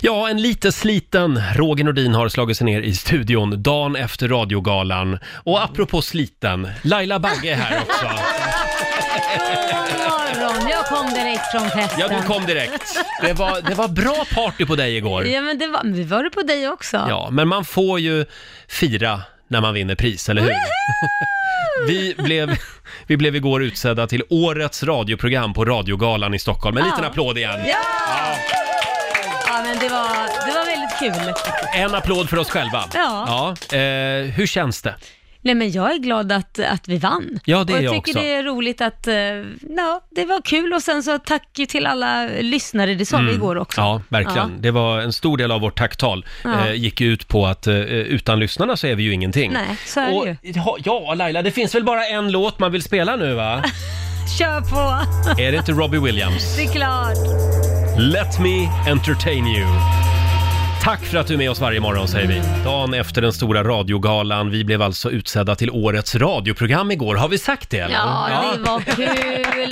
Ja, en lite sliten Roger Nordin har slagit sig ner i studion dagen efter radiogalan. Och apropå sliten, Laila Bagge är här också. morgon. Jag kom direkt från festen. Ja, du kom direkt. Det var, det var bra party på dig igår. Ja, men det var, men vi var det på dig också. Ja, men man får ju fira när man vinner pris, eller hur? Vi blev, vi blev igår utsedda till årets radioprogram på radiogalan i Stockholm. En liten Ja. applåd igen. Ja! Ja, men det var, det var väldigt kul. En applåd för oss själva. Ja. eh, hur känns det? Nej, men jag är glad att, att vi vann. Ja, det och är jag jag tycker också. det är roligt att, eh, ja, det var kul och sen så tack ju till alla lyssnare, det sa vi igår också. Mm. Ja, verkligen. Ja. Det var en stor del av vårt tacktal. Ja. Eh, gick ju ut på att eh, utan lyssnarna så är vi ju ingenting. Nej, så är Och, det ju. ja, ja, Laila, det finns väl bara en låt man vill spela nu, va? Kör på! är det inte Robbie Williams? Det är klart. Let me entertain you. Tack för att du är med oss varje morgon säger vi. Mm. Dagen efter den stora radiogalan. Vi blev alltså utsedda till årets radioprogram igår. Har vi sagt det? eller? Ja, det var kul.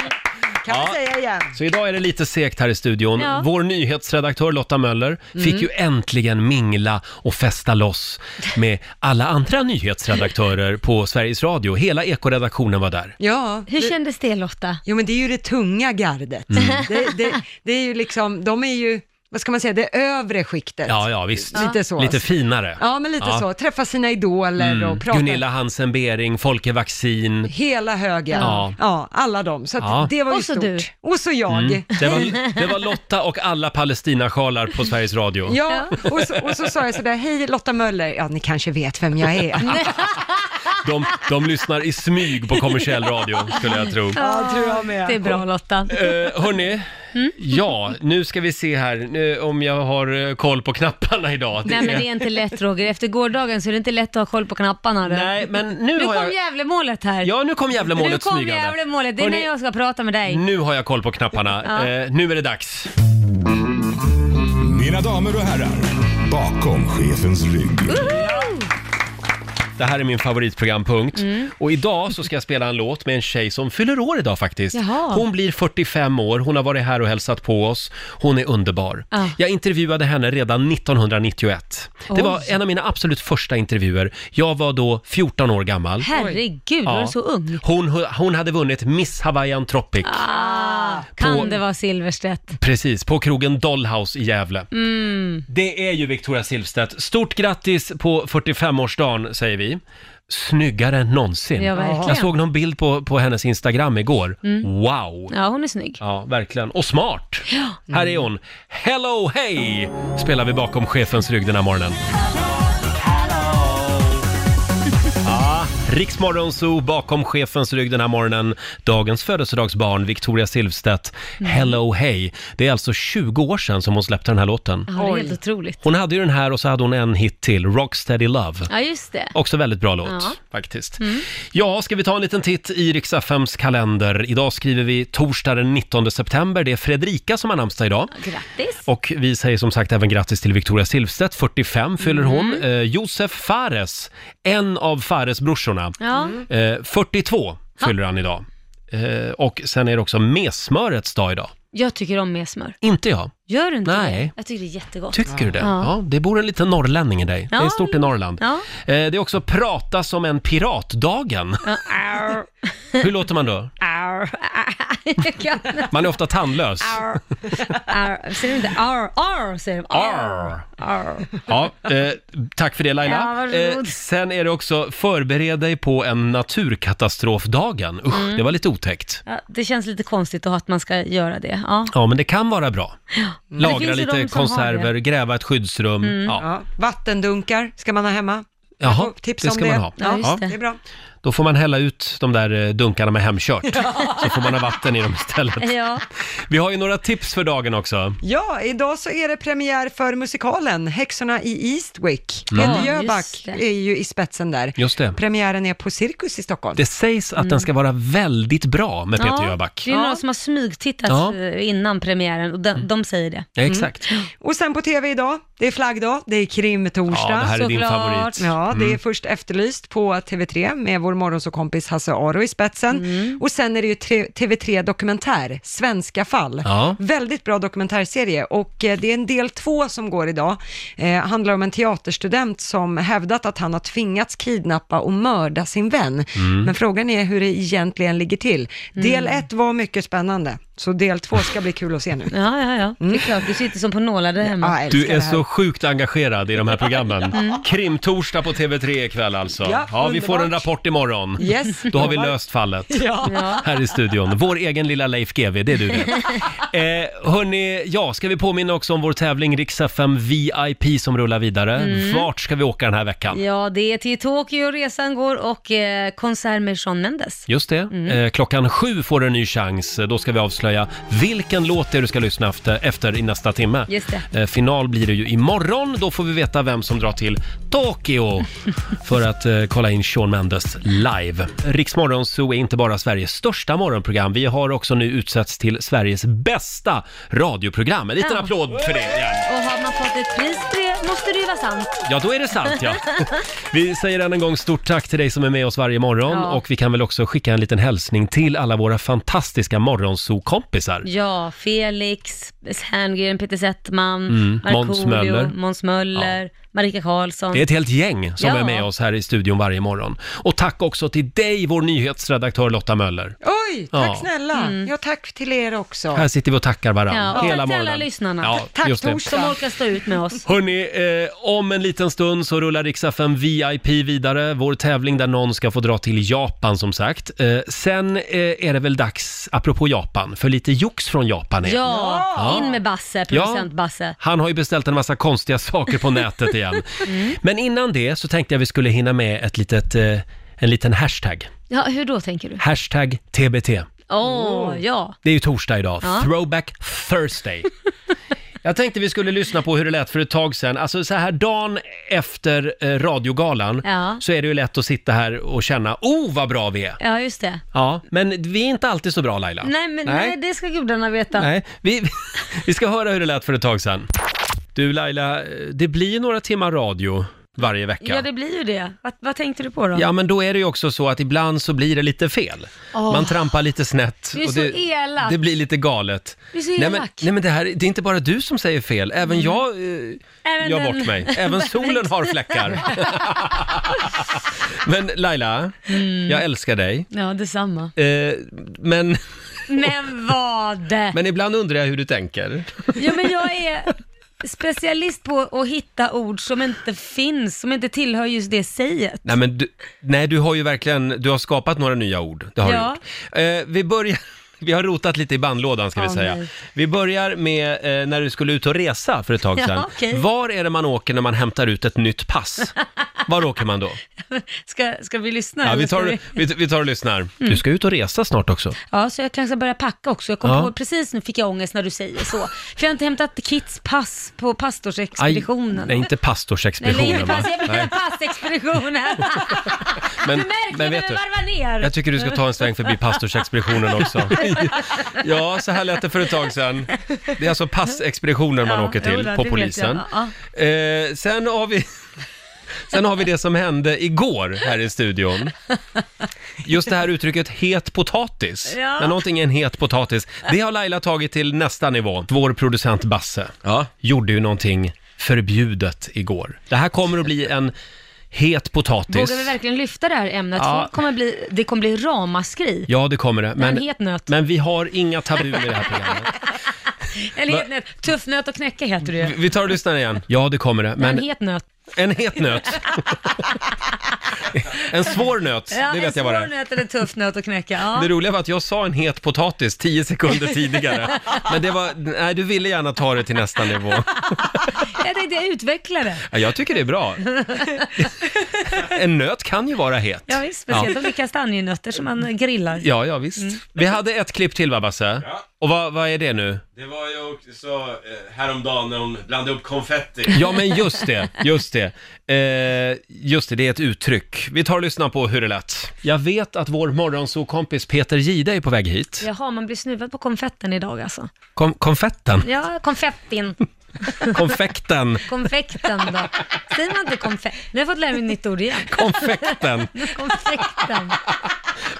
Kan vi säga igen. Så idag är det lite segt här i studion. Ja. Vår nyhetsredaktör Lotta Möller fick ju äntligen mingla och festa loss med alla andra nyhetsredaktörer på Sveriges Radio. Hela ekoredaktionen var där. Ja, Hur det, kändes det Lotta? jo men det är ju det tunga gardet. Mm. Det, det, det är ju liksom, de är ju, vad ska man säga, det övre skiktet. Ja, ja, visst. Lite så. Lite finare. Ja, men lite Ja. Mm. så. Träffa sina idoler och prata. Gunilla Hansen-Bering, Folke Vaccin. Hela högen. Ja. Ja. alla de. Så att Ja. det var ju Och så stort. du. Och så jag. Mm. Det var, det var Lotta och alla Palestinasjalar på Sveriges Radio. Ja, och så, och så sa jag sådär, hej Lotta Möller, ja ni kanske vet vem jag är. De, de lyssnar i smyg på kommersiell radio, skulle jag tro. Ja, tror jag med. Eh, Det är bra Lotta. Uh, hörni, Mm. ja, nu ska vi se här nu, om jag har eh, koll på knapparna idag. Det Nej men är- det är inte lätt Roger, efter gårdagen så är det inte lätt att ha koll på knapparna. du. Nej, men nu, Nu har kom jag... Gävlemålet här. Ja, nu kom nu Gävlemålet kom smygande. Gävlemålet, det är Hörni, när jag ska prata med dig. Nu har jag koll på knapparna. Ja. Eh, nu är det dags. Mina damer och herrar, bakom chefens rygg. Det här är min favoritprogrampunkt. Mm. Och idag så ska jag spela en låt med en tjej som fyller år idag faktiskt. Jaha. Hon blir 45 år, hon har varit här och hälsat på oss. Hon är underbar. Ja. Jag intervjuade henne redan 1991. Det var Oj. en av mina absolut första intervjuer. Jag var då 14 år gammal. Herregud, var Ja. du så ung? Ah. Hon, hon hade vunnit Miss Hawaiian Tropic, Kan På- det vara Silverstedt? precis, på krogen Dollhouse i Gävle. Mm. Det är ju Victoria Silvstedt. Stort grattis på 45-årsdagen, säger vi. Snyggare än någonsin. Ja, verkligen. Mm. Jag såg någon bild på, på hennes Instagram igår. Wow! Ja, hon är snygg. Ja, verkligen. Och smart! Här är hon. Hello, hey! Spelar vi bakom chefens rygg den här morgonen. Ja, Riksmorgonzoo bakom chefens rygg den här morgonen. Dagens födelsedagsbarn, Victoria Silvstedt. Mm. Hello, hey! Det är alltså 20 år sedan som hon släppte den här låten. Ja, det är helt otroligt. Hon hade ju den här och så hade hon en hit till, Rocksteady Love. Ja, just det. Mm. Också väldigt bra låt, Ja. faktiskt. Ja, ska vi ta en liten titt i Riksaffems kalender. Idag skriver vi torsdag den 19 september. Det är Fredrika som har namnsdag idag. Grattis. Och vi säger som sagt även grattis till Victoria Silvstedt, 45 fyller hon. Mm. Eh, Josef Fares, en av Fares-brorsorna, Ja, eh, 42 fyller han idag. Eh, och sen är det också messmörets dag idag. jag tycker om mer smör. Inte jag. Gör du inte Nej. det? Jag tycker det är jättegott. Tycker du det? Ja. Ja. det bor en liten norrlänning i dig. Det är Ja. stort i Norrland. Ja. Eh, det är också prata som en piratdagen. Ja, arr, Hur låter man då? arr, arr. Jag kan- Man är ofta tandlös. arr, arr. Säger de inte arr, arr, säger de. Arr. arr. Ja, eh, tack för det Ja, Laila. Eh, varsågod. sen är det också förbered dig på en naturkatastrofdagen. Usch, Mm. det var lite otäckt. Ja, det känns lite konstigt att ha att man ska göra det. Ja. Ja, men det kan vara bra. Det Mm. Lagra finns ju lite de som har konserver, gräva ett skyddsrum. Ja. Ja, vattendunkar ska man ha hemma. Jaha, Tips det om ska det. man ha. Ja, just Det är bra. Då får man hälla ut de där eh, dunkarna med hemkört, så får man ha vatten i dem istället. Ja. Vi har ju några tips för dagen också. Ja, idag så är det premiär för musikalen Häxorna i Eastwick. Ja, Peter just Jöback det. är ju i spetsen där. Mm. Just det. Premiären är på Cirkus i Stockholm. Det sägs att den ska vara väldigt bra med Peter ja, Jöback. Det är några Ja. som har smygtittat Ja. Mm. eh, innan premiären och de, de säger det. Mm. Ja, exakt. Och sen på tv idag, det är flaggdag, det är Ja, det krimtorsdag. här är din såklart. favorit. Ja, det är först efterlyst på TV3 med vår morgonsåkompis Hasse Aro i spetsen. Mm. Och sen är det ju tre- TV3 Dokumentär, Svenska fall. Ja. Väldigt bra dokumentärserie och eh, det är en del två som går idag. Eh, handlar om en teaterstudent som hävdat att han har tvingats kidnappa och mörda sin vän. Mm. Men frågan är hur det egentligen ligger till. Del ett var mycket spännande, så del två ska bli kul att se nu. Ja, ja, ja. Det är klart, du sitter som på nålar där hemma. Ja, jag älskar Du är det här. Mm. så sjukt engagerad i de här programmen. Krimtorsdag på TV3 ikväll alltså. Ja, Ja, vi får en underbart. rapport imorgon. Yes. Då har vi Lovar. löst fallet. Ja. Ja. Här i studion. Vår egen lilla Leif GW, det är du det. Eh, hörni, ja, ska vi påminna också om vår tävling Rix FM VIP som rullar vidare. Mm. Vart ska vi åka den här veckan? Ja, det är till Tokyo resan går och eh, konsert med Shawn Mendes. Just det. Mm. Eh, klockan sju får du en ny chans. Då ska vi avslöja vilken låt det är du ska lyssna efter, efter i nästa timme. Just det. Eh, final blir det ju imorgon. Då får vi veta vem som drar till Tokyo för att eh, kolla in Shawn Mendes live. Riksmorgon Zoo är inte bara Sveriges största morgonprogram. Vi har också nu utsetts till Sveriges bästa radioprogram. En liten Ja. applåd för det igen. Och har man fått ett pris för det måste det ju vara sant. Ja, då är det sant ja. Vi säger än en gång stort tack till dig som är med oss varje morgon Ja. och vi kan väl också skicka en liten hälsning till alla våra fantastiska morgonsokompisar. Ja, Felix, Herngren, Peter Settman, Mm, Markoolio, Måns Möller. Måns Möller, Marika Karlsson. Det är ett helt gäng som Ja. är med oss här i studion varje morgon. Och tack också till dig, vår nyhetsredaktör Lotta Möller. Oj, tack Ja. snälla. Ja, tack till er också. Här sitter vi och tackar varandra Mm. Ja, och tack hela till alla morgonen. lyssnarna. Ja, Tack, just det. Tors. Som orkar stå ut med oss. Hörni, eh, om en liten stund så rullar Rix FM VIP vidare. Vår tävling där någon ska få dra till Japan som sagt. Eh, sen eh, är det väl dags, apropå Japan, för lite jox från Japan. Är. Ja, Ja. in med Basse, producent Basse. Han har ju beställt en massa konstiga saker på nätet igen. Mm. Men innan det så tänkte jag vi skulle hinna med ett litet, eh, en liten hashtag. Ja, hur då tänker du? Hashtag TBT. Åh, Oh. ja. Det är ju torsdag idag, Ja. throwback Thursday. Jag tänkte vi skulle lyssna på hur det lät för ett tag sedan. Alltså så här dagen efter eh, radiogalan Ja. så är det ju lätt att sitta här och känna, oh vad bra vi är. Ja, just det. Ja, men vi är inte alltid så bra Laila. Nej, men nej. det ska gudarna veta. Nej, vi, vi ska höra hur det lät för ett tag sedan. Du Laila, det blir några timmar radio varje vecka. Ja, det blir ju det. Vad, vad tänkte du på då? Ja, men då är det ju också så att ibland så blir det lite fel. Åh. Man trampar lite snett. Du är och så det, elak. det blir lite galet. Du är så Mm. nej, men, elak. nej, men det här, det är inte bara du som säger fel. Även jag eh, Även gör den- bort mig. Även solen har fläckar. men Laila, Mm. jag älskar dig. Ja, detsamma. Eh, men, Men vad? men ibland undrar jag hur du tänker. Jo, men jag är specialist på att hitta ord som inte finns, som inte tillhör just det säget. Nej, men du, nej, du har ju verkligen, du har skapat några nya ord. Det har Ja. du gjort. Eh, vi börjar, vi har rotat lite i bandlådan ska vi Åh, säga. nej. Vi börjar med eh, när du skulle ut och resa för ett tag Ja, sedan. okej. Var är det man åker när man hämtar ut ett nytt pass? Var åker man då? Ska, ska vi Mm. lyssna? Ja, eller vi, ska tar, vi, vi tar och lyssnar. Du ska ut och resa snart också. Ja, så jag kanske ska börja packa också. Jag kom Ja. på, precis nu fick jag ångest när du säger så. För jag har inte hämtat Kits pass på pastorsexpeditionen. nej, inte Nej, pastorsexpeditionen inte va? pass, jag menar Nej. passexpeditionen. Men, Du märker, men jag vet behöver du, varva ner. jag tycker du ska ta en sväng förbi pastorsexpeditionen också. Ja, så här lät det för ett tag sedan. Det är alltså passexpeditionen man Ja, åker till jo då, på det vet polisen. jag. Eh, sen, har vi, sen har vi det som hände igår här i studion. Just det här uttrycket het potatis. Ja. När någonting är en het potatis. Det har Laila tagit till nästa nivå. Vår producent Basse gjorde ju någonting förbjudet igår. Det här kommer att bli en het potatis. Vågar vi verkligen lyfta det här ämnet? Ja. Folk kommer bli, det kommer bli ramaskri. Ja, det kommer det. en het nöt. men vi har inga tabun i det här programmet. Eller Va- het nöt. Tuff nöt att knäcka heter det ju. Vi tar och lyssnar igen. Ja, det kommer det. Men... En Men het nöt. en het nöt. En svår nöt, det vet jag vad det En är. svår nöt eller tuff nöt att knäcka. Det Ja. roliga var att jag sa en het potatis tio sekunder tidigare. Men det var, nej du ville gärna ta det till nästa nivå. Jag tänkte jag utvecklar det. Ja, jag tycker det är bra. En nöt kan ju vara het. Ja, visst, speciellt om det Mm. är kastanjenötter som man grillar. Ja, ja visst. Vi hade ett klipp till va Basse? Och vad, vad är det nu? Det var ju också eh, häromdagen när hon blandade upp konfetti. Ja, men just det, just det. Eh, just det, det är ett uttryck. Vi tar och lyssnar på hur det lät. Jag vet att vår morgonsokompis Peter Gide är på väg hit. Jaha, man blir snuvad på konfetten idag alltså. Kom, konfetten, Ja, konfettin. konfekten, Konfekten då. Säger man inte konfett? Nu har jag fått lära mig ett nytt ord igen. konfekten. Konfekten.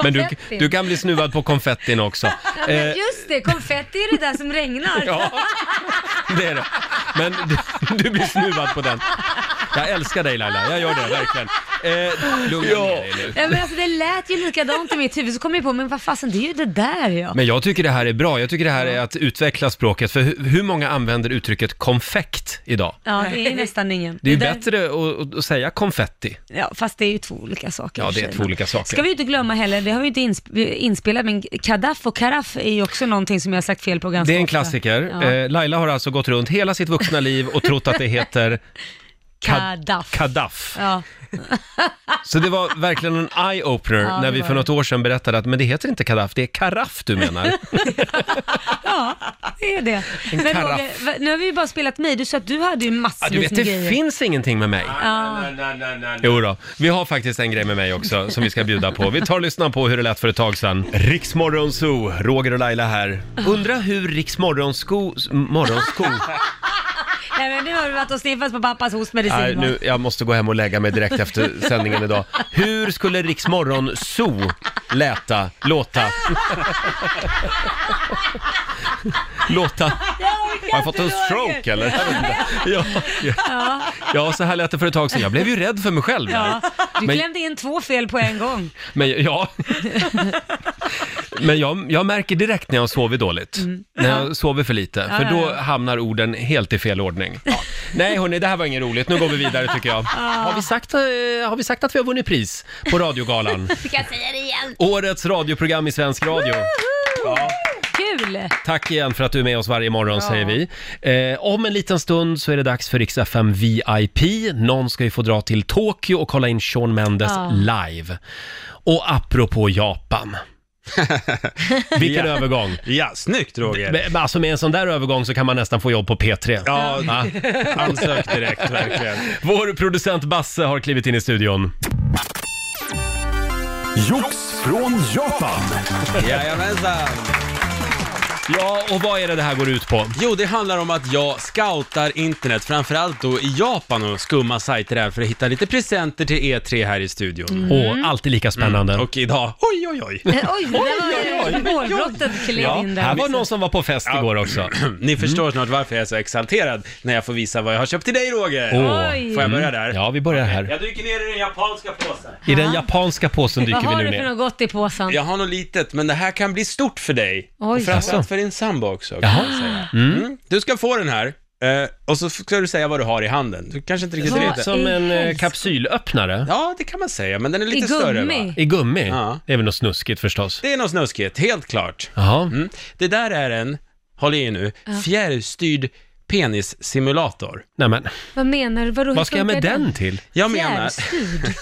Men du, Konfettin. du kan bli snuvad på konfettin också. Ja, Eh, men just det, konfetti är det där som regnar. Ja, det är det. Men du, du blir snuvad på den. Jag älskar dig Laila, jag gör det verkligen. Eh, lugna ner dig nu. Ja, men alltså, det lät ju likadant i mitt huvud, så kom jag på, men vad fasen, det är ju det där ja. Men jag tycker det här är bra, jag tycker det här är att utveckla språket. För hur, hur många använder uttrycket konfekt idag? Ja, det är Eh, nästan ingen. Det är ju där- bättre att- att, att säga konfetti. Ja, fast det är ju två olika saker. Ja, i och det är för sig. två olika saker. Ska vi inte glömma heller, det har vi inte insp- inspelat, men kadaff och karaff är ju också någonting som jag har sagt fel på ganska Det är en ofta. klassiker. Ja. Eh, Laila har alltså gått runt hela sitt vuxna liv och trott att det heter kad- Kadaff. kadaff. ja. Så det var verkligen en eye-opener Ja, när det vi var för det. något år sedan berättade att men det heter inte kadaff, det är karaff du menar. ja, det är det. Men karaff. Roger, va- nu har vi ju bara spelat mig, du sa att du hade ju massvis Ja, du vet, med det grejer. finns ingenting med mig. Ja. Nej, nej, nej, nej, nej. Jo då, vi har faktiskt en grej med mig också som vi ska bjuda på. Vi tar och lyssnar på hur det lät för ett tag sedan. Riksmorgon Zoo, Roger och Laila här. Ah. Undra hur Riksmorgonsko... Morgonsko... Nej, men nu har du varit och sniffat på pappas hostmedicin. Nej, va? nu, jag måste gå hem och lägga mig direkt efter sändningen idag. Hur skulle Riksmorgon Zoo läta, låta? låta... Har jag fått en stroke eller? Jag vet inte. Ja, ja. ja, så här lät det för ett tag sedan. Jag blev ju rädd för mig själv. där. Ja, du Men- klämde in två fel på en gång. Men ja, men jag, jag märker direkt när jag sover dåligt, när jag sover för lite, Mm. Ja, för ja, då ja. hamnar orden helt i fel ordning. Nej hörni, det här var inget roligt, nu går vi vidare tycker jag. Har vi sagt, eh, har vi sagt att vi har vunnit pris på radiogalan? Fick jag säga det igen? Årets radioprogram i svensk radio. Kul! Tack igen för att du är med oss varje morgon säger vi. Eh, om en liten stund så är det dags för Rix FM VIP. Någon ska ju få dra till Tokyo och kolla in Shawn Mendes Ja. live. Och apropå Japan. Vilken Ja. övergång! Ja, snyggt Roger! Men- men Alltså med en sån där övergång så kan man nästan få jobb på P3. Ja, Va? ansök direkt verkligen. Vår producent Basse har klivit in i studion. Jox från Japan. Jajamensan! Ja, och vad är det det här går ut på? Jo, det handlar om att jag scoutar internet, framförallt då i Japan och skumma sajter där för att hitta lite presenter till E3 här i studion. Mm. Och alltid lika spännande. Och idag, oj oj oj! Eh, Oj, det var ju målbrottet klev Ja, in här där. var någon som var på fest igår också. Ni förstår snart varför jag är så exalterad när jag får visa vad jag har köpt till dig Roger! Åh. Oj. Får jag börja där? Ja, vi börjar här. Jag dyker ner i den japanska påsen. I den japanska påsen Vad dyker vi har nu du för ner. något gott i påsen? Jag har något litet, men det här kan bli stort för dig. Oj. Och framförallt Jaså. för din sambo också. Kan jag säga. Mm. Du ska få den här, eh, och så ska du säga vad du har i handen. Du kanske inte riktigt Ser Vad ut vet. som i en eh, helsike? kapsylöppnare Ja, det kan man säga, men den är I lite större va? gummi? i gummi. Ja. Det är väl något snuskigt förstås. Det är något snuskigt, helt klart. Jaha. Mm. Det där är en, håll i er nu, fjärrstyrd penissimulator. Nej, men, Vad menar du? Vadå, hur vad ska jag med funkar den till? Jag menar, Fjärrstyrd?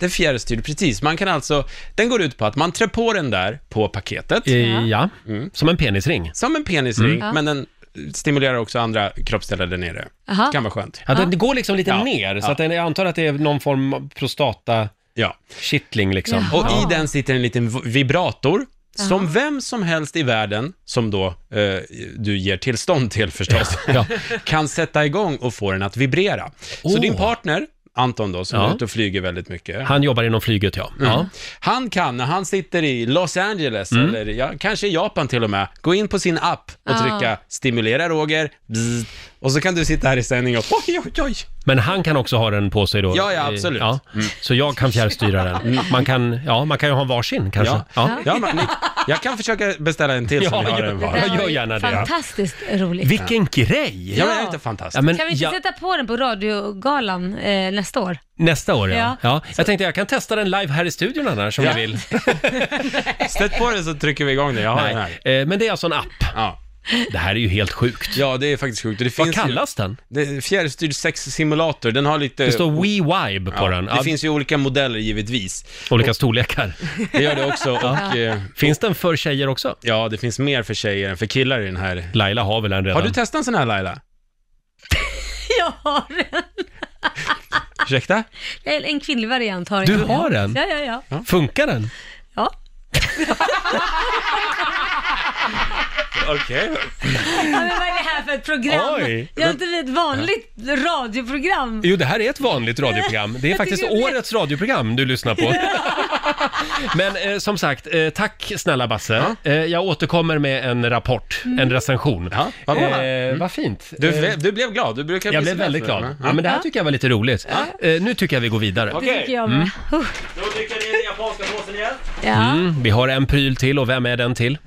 det är fjärrstyrd, precis. Man kan alltså, den går ut på att man trär på den där på paketet, Mm. Eh, Ja, som en penisring. Mm. som en penisring, Ja. men den stimulerar också andra kroppsdelar där nere. Aha. Kan vara skönt. Ja, den går liksom lite Ja. ner, så Ja. att den, jag antar att det är någon form av prostata-kittling Ja. liksom. Ja. Och Ja. i den sitter en liten v- vibrator, som vem som helst i världen, som då eh, du ger tillstånd till förstås, Ja. kan sätta igång och få den att vibrera. Så Åh. din partner, Anton då, som Oh. Ja. är ute och flyger väldigt mycket, Mm. Han jobbar inom flyget, ja. ja. Mm. han kan, när han sitter i Los Angeles, eller ja, kanske i Japan till och med, gå in på sin app och Ja. trycka “stimulera Roger”, bzz, och så kan du sitta här i sändning och oj, oj, oj. Men han kan också ha den på sig då? Ja, ja, i- absolut. Mm. Så jag kan fjärrstyra den. Man kan, ja, man kan ju ha en varsin kanske. Ja. Ja. Ja, men, ni, jag kan försöka beställa en till som Ja, vi har gör en det. var. Jag Det gör var ju gärna det. Fantastiskt roligt. Vilken grej! Ja, men är det inte fantastiskt? Ja, men Kan vi inte ja- sätta på den på radiogalan eh, nästa år? Nästa år, ja. ja. Ja. Jag tänkte jag kan testa den live här i studion annars om Ja. ni vill. Stöt på den så trycker vi igång den, jag har den Nej. här. Eh, Men det är alltså en app. Ja. Det här är ju helt sjukt. Ja, det är faktiskt sjukt. Och Det Vad finns kallas den? Ju, det är fjärrstyrd sexsimulator. Den har lite... Det står WeVibe på ja, den. Det Ja, finns ju olika modeller givetvis. Olika storlekar. Det gör det också. Och, eh, Finns den för tjejer också? ja, det finns mer för tjejer än för killar i den här. Laila har väl en redan? Har du testat en sån här Laila? Jag har en, Ursäkta? eller en kvinnlig variant. Har jag. Du har en? Ja, ja, ja. Funkar den? ja. Okej. Ja, men vad är det här för ett program? Oj. Jag har inte vi ett vanligt radioprogram? Jo, det här är ett vanligt radioprogram. Det är Jag faktiskt tycker det blir- årets radioprogram du lyssnar på. Men eh, som sagt, eh, tack snälla Basse. Eh, jag återkommer med en rapport, Mm. en recension. Ja, vad bra. Mm. Eh, vad fint. Eh, Du, du blev glad. Du brukar jag bli blev så glad väldigt för det, glad. va? Ja, men det här tycker jag var lite roligt. Eh, nu tycker jag vi går vidare. Det tycker jag med. Oh, Då dyker jag ner i den japanska påsen igen. Ja. Mm, vi har en pryl till och vem är den till?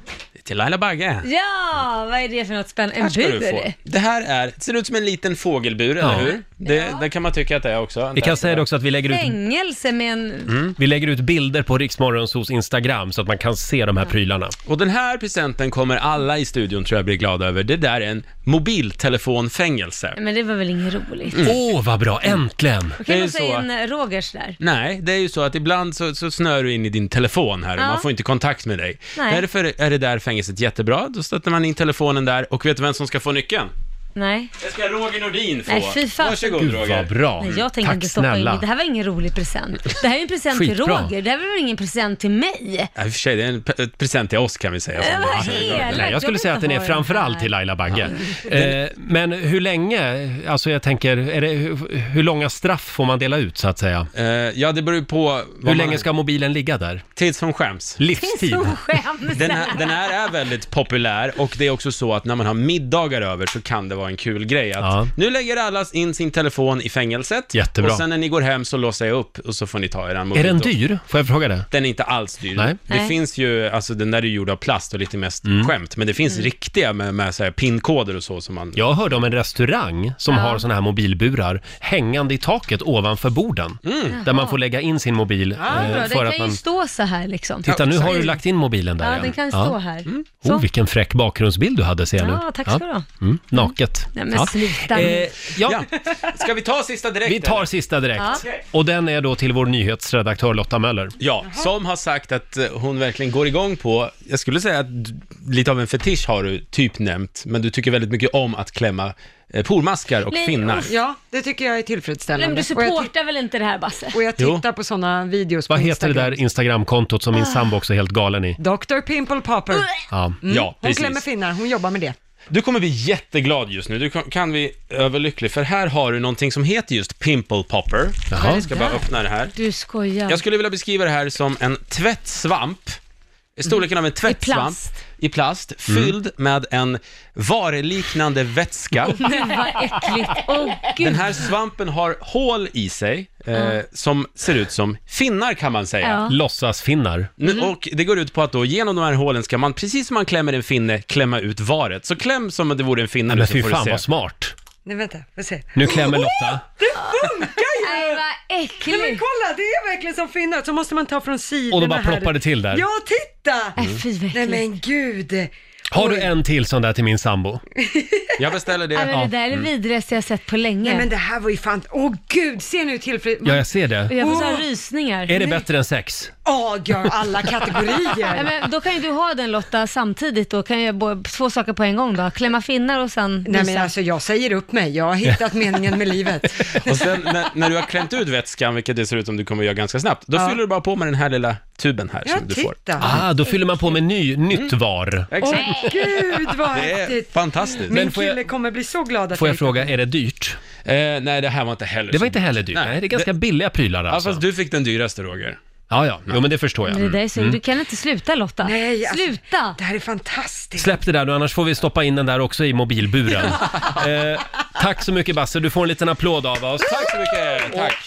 Till Laila Bagge. ja, vad är det för något spännande? En Här ska du bur? få. Det här är, det ser ut som en liten fågelbur, Ja. eller hur? Det, det kan man tycka att det är också. Vi kan säga det också att vi lägger ut, Fängelse med en... Mm. vi lägger ut bilder på Riksmorgonsos Instagram så att man kan se de här prylarna. Och den här presenten kommer alla i studion tror jag bli glada över. Det där är en mobiltelefonfängelse. Mm. Men det var väl inget roligt? Åh, vad bra! Äntligen! Kan Det är du säga så. en eh, Rogers där? Nej, det är ju så att ibland så, så snör du in i din telefon här och Ja. man får inte kontakt med dig. Nej. Därför är det där fängelset jättebra. Då stöter man in telefonen där och vet du vem som ska få nyckeln? Nej. Det ska Roger Nordin få. Nej, fy fan. Varsågod Gud, Roger. vad bra! Nej, jag tänker Tack inte stoppa in snälla. in Det här var ingen rolig present. Det här är en present till Skitbra. Roger. Det här var väl ingen present till mig? Äh, Ja, i och för sig, det är en p- ett present till oss kan vi säga. Äh, vad Nej, elakt. jag vill skulle säga att inte den är ha framförallt här. till Laila Bagge. Eh, men hur länge, alltså jag tänker, är det, hur, hur långa straff får man dela ut så att säga? Eh, ja, det beror ju på... vad Hur man- länge ska mobilen ligga där? Tills hon skäms. Det är Livstid? så skämsamt. Den här, den här är väldigt populär och det är också så att när man har middagar över så kan det vara en kul grej att Ja. nu lägger alla in sin telefon i fängelset Jättebra. och sen när ni går hem så låser jag upp och så får ni ta er mobil. Är den då. dyr? Får jag fråga det? Den är inte alls dyr. Nej. Mm. Det Nej. finns ju, alltså den där är gjord av plast och lite mest skämt, men det finns riktiga med, med så här pinkoder och så som man... Jag hörde om en restaurang som har såna här mobilburar hängande i taket ovanför borden. Mm. Där man får lägga in sin mobil. Ja, eh, bra. för Den att kan man... ju stå så här liksom. Titta, nu har du lagt in mobilen där Ja, igen. den kan Ja. stå här. Oh, Så. vilken fräck bakgrundsbild du hade ser jag nu. Ja, tack ska du ha. Mm, naket. Nej, men sluta ja. nu. Eh, ja, Ja. Ska vi ta sista direkt? vi tar eller? sista direkt. Ja. Och den är då till vår nyhetsredaktör Lotta Möller. Ja, som har sagt att eh, hon verkligen går igång på, jag skulle säga att d- lite av en fetisch har du typ nämnt, men du tycker väldigt mycket om att klämma eh, pormaskar och Nej, finnar. usch. Ja, det tycker jag är tillfredsställande. Nej, men du och, jag supportar väl inte det här Basse? ti- och jag Jo. tittar på sådana videos Vad på heter det Instagram. där Instagramkontot Ah. som min sambo också är helt galen i? Dr. Pimple Popper. Mm. Ja. Ja, Hon precis. klämmer finnar, hon jobbar med det. Du kommer bli jätteglad just nu, du kan- kan bli överlycklig, för här har du någonting som heter just Pimple Popper. Jaha. Jag ska bara öppna det här. Du skojar. Jag skulle vilja beskriva det här som en tvättsvamp, storleken av en Mhm. I tvättsvamp plast. Mm. i plast, fylld med en vareliknande vätska. Men vad äckligt. Åh gud. Den här svampen har hål i sig eh, som ser ut som finnar kan man säga. Ja. Låtsasfinnar. Nu, Och det går ut på att då genom de här hålen ska man, precis som man klämmer en finne, klämma ut varet. Så kläm som om det vore en finne nu Men så fy får fan du vad se. smart. Nej vänta, får se. Nu klämmer Lotta. Nej, vad Nej men äckligt. kolla, det är verkligen som finnar, så måste man ta från sidorna Och då bara här. ploppar det till där. Ja, titta! Nej, fy vad Nej äckligt. men gud! Har du en till sån där till min sambo? Jag beställer Ja, det. men det där är Mm. det vidrigaste jag sett på länge. Nej men det här var ju fan, åh gud, se nu tillfredsställande. Ja, jag ser Och det. jag får Oh! så här rysningar. Är det bättre än sex? Åh, gör alla Nej, kategorier. men då kan ju du ha den Lotta samtidigt då, kan jag bo- två saker på en gång då. Klämma finnar och sen Nej men mysa. alltså jag säger upp mig, jag har hittat meningen med livet. Och sen när, när du har klämt ut vätskan, vilket det ser ut som du kommer göra ganska snabbt, då Ja. fyller du bara på med den här lilla tuben här Ja, som du får. Mm. titta. Ah, då fyller man på med ny, nytt var. Åh Exakt. gud vad Det är häftigt. fantastiskt. Men Min får jag- kille kommer bli så glad att Får jag hittat- fråga, är det dyrt? Eh, nej, det här var inte heller Det så var inte heller dyrt. Nej. Nej, det är ganska billiga prylar Ja, alltså. fast du fick den dyraste, Roger. Ja, ja. Jo, men det förstår jag. Det där är så, Du kan inte sluta Lotta. Nej, alltså, sluta! Det här är fantastiskt. Släpp det där nu, annars får vi stoppa in den där också i mobilburen. eh, tack så mycket Basse, du får en liten applåd av oss. Tack så mycket. Tack.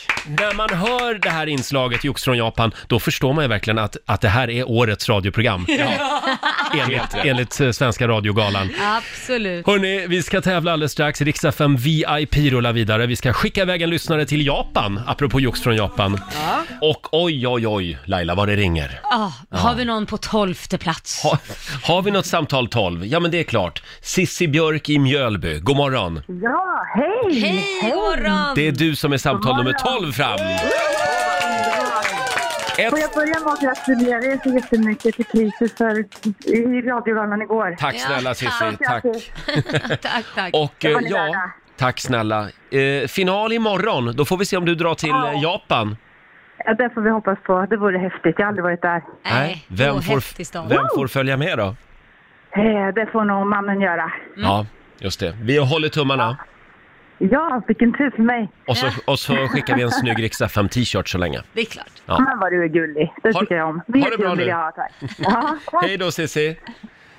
När man hör det här inslaget, Jux från Japan, då förstår man ju verkligen att, att det här är årets radioprogram. Enligt, enligt eh, Svenska Radiogalan. Absolut. Hörni, vi ska tävla alldeles strax. Riksdag 5 VIP rullar vidare. Vi ska skicka iväg en lyssnare till Japan, apropå jox från Japan. Och oj, oj, oj, Oj, Laila, vad det ringer. Ah, Har vi någon på tolfte plats? Ha, har vi något samtal 12? Ja, men det är klart. Sissi Björk i Mjölby, god morgon. Ja, hej! Hej, god morgon! Det är du som är samtal nummer 12 fram. Får Ett... jag börja med att gratulera er så jättemycket till priset för, i Radiogalen igår. Tack snälla Sissi, Ja, tack. grattis. Tack, tack. Och eh, var ni ja, värda. tack snälla. Eh, final imorgon, då får vi se om du drar till eh, Japan. Ja, det får vi hoppas på. Det vore häftigt. Jag har aldrig varit där. Nej, Vem, åh, får, häftig stad. vem får följa med Mm. då? Eh, Det får nog mannen göra. Ja, just det. Vi håller tummarna. Ja, vilken tur för mig. Och så, och så skickar vi en snygg Rix FM t-shirt så länge. Det är klart. Ja. Men vad du är gullig. Det Ha- tycker jag om. ha det bra kul nu. vill jag ha, tack. Ja, tack. Hej då Sissi!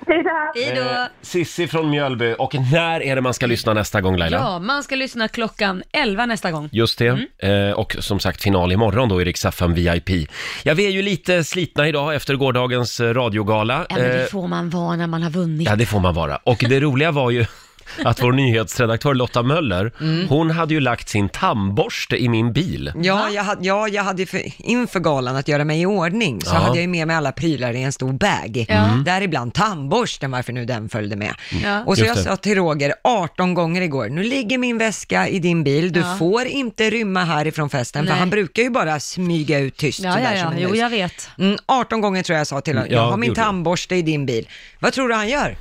Hej då. Hej Eh, då! Sissi från Mjölby. Och när är det man ska lyssna nästa gång Laila? Ja, Mm. man ska lyssna klockan 11 nästa gång. Just det. Eh, och som sagt final imorgon då i Rix FM VIP. Ja, vi är ju lite slitna idag efter gårdagens eh, radiogala. Ja, men Eh, det får man vara när man har vunnit. Ja, det får man vara. Och det roliga var ju att vår nyhetsredaktör Lotta Möller, Mm. hon hade ju lagt sin tandborste i min bil. Ja, jag hade, ja, jag hade ju för, inför galan att göra mig i ordning så Ja. hade jag ju med mig alla prylar i en stor bag. Ja. Mm. Däribland tandborsten, varför nu den följde med. Ja. Och så Just jag det. sa till Roger 18 gånger igår, nu ligger min väska i din bil, du Ja. får inte rymma härifrån festen, för Nej. han brukar ju bara smyga ut tyst Ja, sådär ja, som ja. en Jo, mus. jag vet. Mm, 18 gånger tror jag jag sa till honom, Ja, jag har min gjorde du. tandborste i din bil. Vad tror du han gör?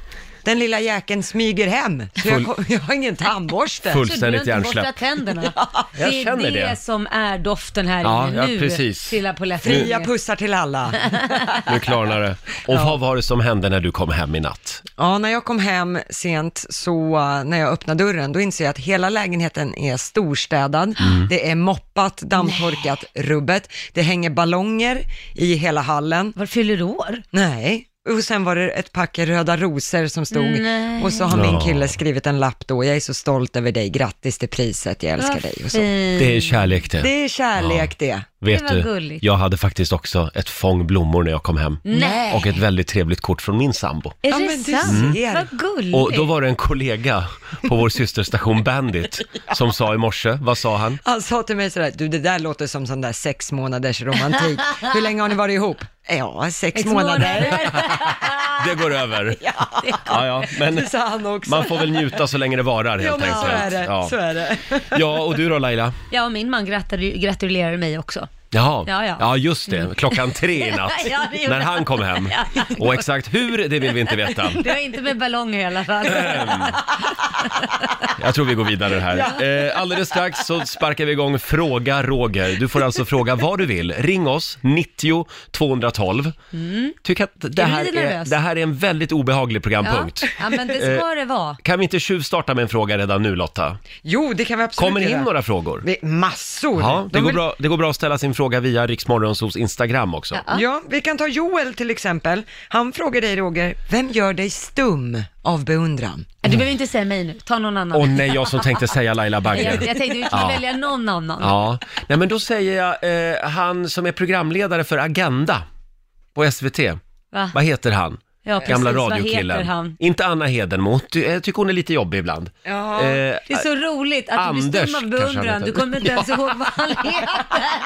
Den lilla jäkeln smyger hem, så Full- jag, kom- jag har ingen tandborste. Fullständigt Så glöm inte borsta hjärnsläpp. tänderna. jag det är känner det, det. som är doften här Ja, inne ja, nu. precis. Silla på Fria pussar till alla. Nu klarnar det. Och vad var det som hände när du kom hem i natt? Ja, när jag kom hem sent så eh, när jag öppnade dörren, då inser jag att hela lägenheten är storstädad. Mm. Det är moppat, dammtorkat, rubbet. Det hänger ballonger i hela hallen. Var fyller du år? Nej. Och sen var det ett pack röda rosor som stod. Nej. Och så har min Ja. kille skrivit en lapp då. Jag är så stolt över dig. Grattis till priset. Jag älskar dig. Och så. Det är kärlek det. Det är kärlek det. Vet var du, gulligt. jag hade faktiskt också ett fång blommor när jag kom hem. Nej. Och ett väldigt trevligt kort från min sambo. Är Ja, det men du sant? ser. Vad gulligt. Mm. Och då var det en kollega på vår systerstation Bandit som sa i morse, vad sa han? Han sa till mig sådär, du det där låter som sån där sex månaders romantik. Hur länge har ni varit ihop? Ja, sex, Sex månader. Det går över. Ja, ja, men Det sa han också. man får väl njuta så länge det varar helt Ja, men enkelt. så är det. Ja. Så är det. ja, och du då Laila? Ja, och min man gratulerar, gratulerar mig också. Jaha, ja, Ja, ja. just det. Klockan tre i natt, Ja, det gjorde när han kom hem. Och exakt hur, det vill vi inte veta. Det var inte med ballonger i alla fall. Jag tror vi går vidare här. Eh, alldeles strax så sparkar vi igång Fråga Roger. Du får alltså fråga vad du vill. Ring oss, 90 212. Tycker att det Är du här lite är, nervös? det här är en Eh, väldigt obehaglig Mm. ja. programpunkt. ja, men det ska det vara. Kan vi inte tjuvstarta med en fråga redan nu Lotta? Jo, det kan vi absolut Kommer det in göra. några frågor? Vi- Massor. Ja, det De går, vill- bra, det går bra att ställa sin fråga via Riksmorgonsos Instagram också. Ja. Ja, vi kan ta Joel till exempel. Han frågar dig Roger, vem gör dig stum av beundran? Du behöver inte säga mig nu, ta någon annan. Åh nej, jag som tänkte säga Laila jag, Bagge. jag tänkte vi kunde Ja. välja någon annan. Ja, nej men då säger jag eh, han som är programledare för Agenda på SVT. Va? Vad heter han? Ja, precis. Gamla Vad heter radiokillen. han? Inte Anna Hedenmo. Ty- Jag tycker hon är lite jobbig ibland. Ja. Eh, Det är så roligt att du blir Anders stum av kanske han beundran. heter. Du kommer inte ens ihåg vad han heter.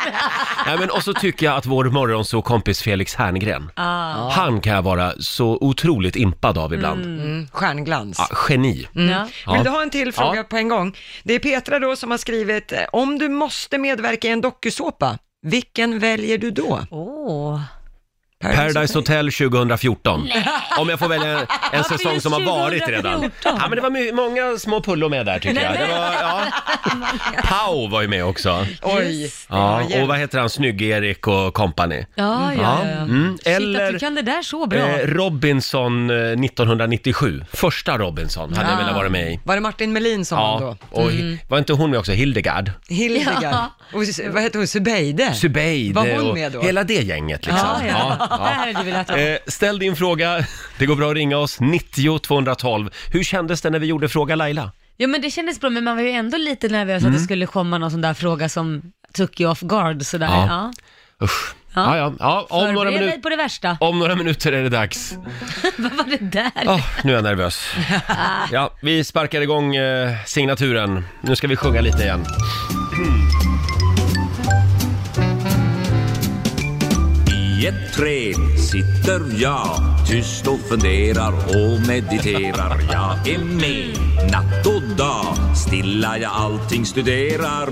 nej, men, och så tycker jag att vår morgonsåkompis Felix Herngren, Ah. han kan jag vara så otroligt impad av ibland. Mm, stjärnglans. Ja, geni. Mm. Ja. Ja. Vill du ha en till fråga Ja. på en gång? Det är Petra då som har skrivit, eh, om du måste medverka i en dokusåpa, vilken väljer du då? Åh. Paradise Hotel 2014. Om jag får välja en, en säsong som har varit redan. 2014? Ja, men det var my- många små pullo med där tycker jag. Det var, ja. Pau var ju med också. Oj. Ja, hjälp. och vad heter han, Snygg-Erik och company. Ja, ja, ja. Mm. Shit, att du Eller kan det där så bra. eh, Robinson eh, 1997, första Robinson hade jag velat vara med i. Var det Martin Melin som vann Ja, då? Mm. och hi- var inte hon med också, Hildegard? Hildegard. Ja. Och s- vad heter hon, Subeide? Zubeide Var hon och med då? hela det gänget liksom. ja, ja. Ja, Det ja. här hade du velat ha. Eh, ställ din fråga. Det går bra att ringa oss, 90 212. Hur kändes det när vi gjorde Fråga Laila? Jo, men det kändes bra, men man var ju ändå lite nervös Mm. att det skulle komma någon sån där fråga som took you off guard sådär. Ja. Ja. Usch. Ja, Ja. ja, ja. Om, Förbered några dig minut- på det värsta. om några minuter är det dags. Vad var det där? Ah. Åh, nu är jag nervös. Ja, vi sparkar igång eh, signaturen. Nu ska vi sjunga lite igen. I ett träd sitter jag tyst och funderar och mediterar. Jag är med natt och dag, stilla jag allting studerar.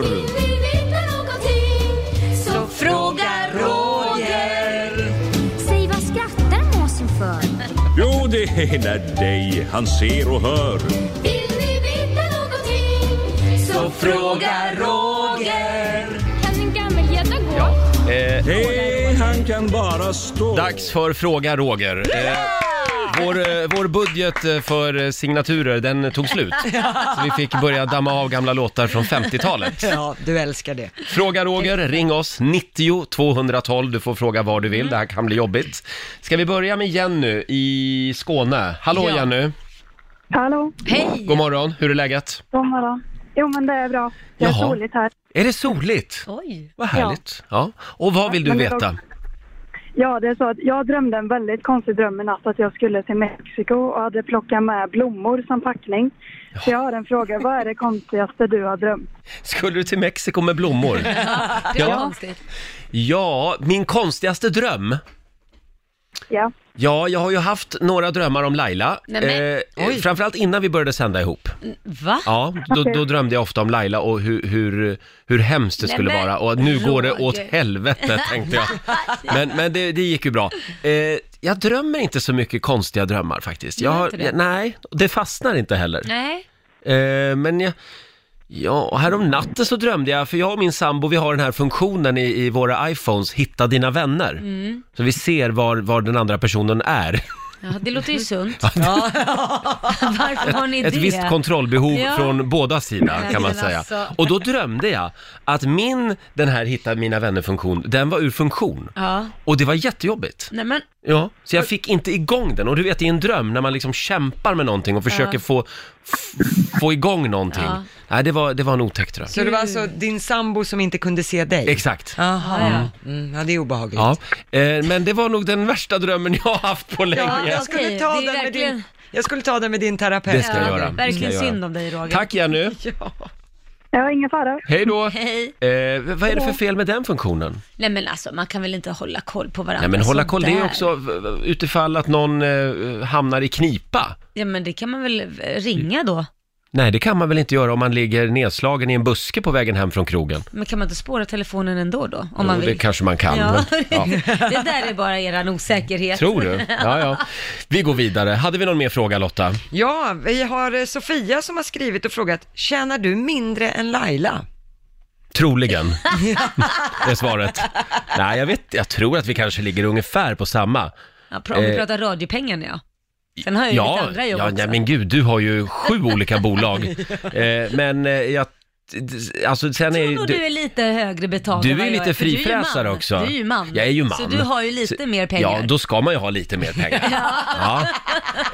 Så fråga Roger. Säg vad skrattar måsen för? Jo, det är när dig han ser och hör. Vill ni veta någonting? Så Fråga Roger. Kan en gammelgädda gå? Nej, han kan bara stå. Eh, Dags för Fråga Roger. Eh, vår, eh, vår budget eh, för eh, signaturer, den tog slut. Så vi fick börja damma av gamla låtar från 50-talet. Ja, du älskar det. Fråga Roger, ring oss, 90 212. Du får fråga vad du vill, det här kan bli jobbigt. Ska vi börja med Jenny i Skåne? Hallå Ja. Jenny, Hallå, Hej. god morgon, hur är läget? god morgon. Jo, men det är bra. Det är Jaha. soligt här. Är det soligt? Oj. Vad härligt. Ja. Och vad vill du men det veta? Ja, det är så att jag drömde en väldigt konstig dröm i natt att jag skulle till Mexiko och hade plockat med blommor som packning. Så jag har en fråga, vad är det konstigaste du har drömt? Skulle du till Mexiko med blommor? Det var Ja. konstigt. Ja, min konstigaste dröm. Ja, Ja, jag har ju haft några drömmar om Laila. Nej, men- eh, framförallt innan vi började sända ihop. Va? Ja, då, då drömde jag ofta om Laila och hur, hur, hur hemskt det Nej, skulle men- vara. Och nu går det Roger. åt helvete, tänkte jag. Men, men det, det gick ju bra. Eh, jag drömmer inte så mycket konstiga drömmar faktiskt. Jag Gör har, inte det? nej, det fastnar inte heller. Nej. Eh, men jag... Ja, och härom natten så drömde jag, för jag och min sambo, vi har den här funktionen i, i våra iPhones, hitta dina vänner. Så vi ser var, var den andra personen är. Mm. Ja, det låter ju sunt. Varför har ni Ett det? visst kontrollbehov Ja. från båda sidor Nej, kan man men säga. alltså. Och då drömde jag att min, den här hitta mina vänner-funktion, den var ur funktion. Ja. Och det var jättejobbigt. Nej men, Ja, så jag fick inte igång den. Och du vet i en dröm när man liksom kämpar med någonting och försöker få, f- få igång någonting. Ja. Nej, det var, det var en otäck dröm. Så det var alltså din sambo som inte kunde se dig? Exakt. Aha. ja, ja. Mm, ja, det är obehagligt. Ja, eh, men det var nog den värsta drömmen jag har haft på Ja, länge. jag, skulle Okej, ta det den är med din, verkligen- jag skulle ta den med din terapeut. Det ska jag göra. verkligen Ska jag synd om dig Roger. Tack Jenny, ja ingen fara. hej då! Hej. Eh, vad är det för fel med den funktionen? Nej men alltså, man kan väl inte hålla koll på varandra Nej men hålla koll, det är sådär. också eh, utifall att någon eh, hamnar i knipa. Ja men det kan man väl eh, ringa då? Nej, det kan man väl inte göra om man ligger nedslagen i en buske på vägen hem från krogen? Men kan man inte spåra telefonen ändå då? Om man Jo, vill? det kanske man kan. Ja. Men, ja. det där är bara eran osäkerhet. Tror du? Ja, ja. Vi går vidare. Hade vi någon mer fråga Lotta? Ja, vi har eh, Sofia som har skrivit och frågat, tjänar du mindre än Laila? Troligen, är svaret. Nej, jag vet Jag tror att vi kanske ligger ungefär på samma. Ja, pra- om vi Eh. pratar radiopengar nu, ja. Sen har jag ju mitt Ja, andra jobb ja, också. ja, men gud, du har ju sju olika bolag. Eh, men eh, jag, d- alltså sen är Jag tror ju... nog du Du, är lite högre betald du än vad är jag lite för du är ju frifräsare man. också. Du är ju man. Jag är ju Så man. du har ju lite mer pengar. ja, då ska man ju ha lite mer pengar. ja.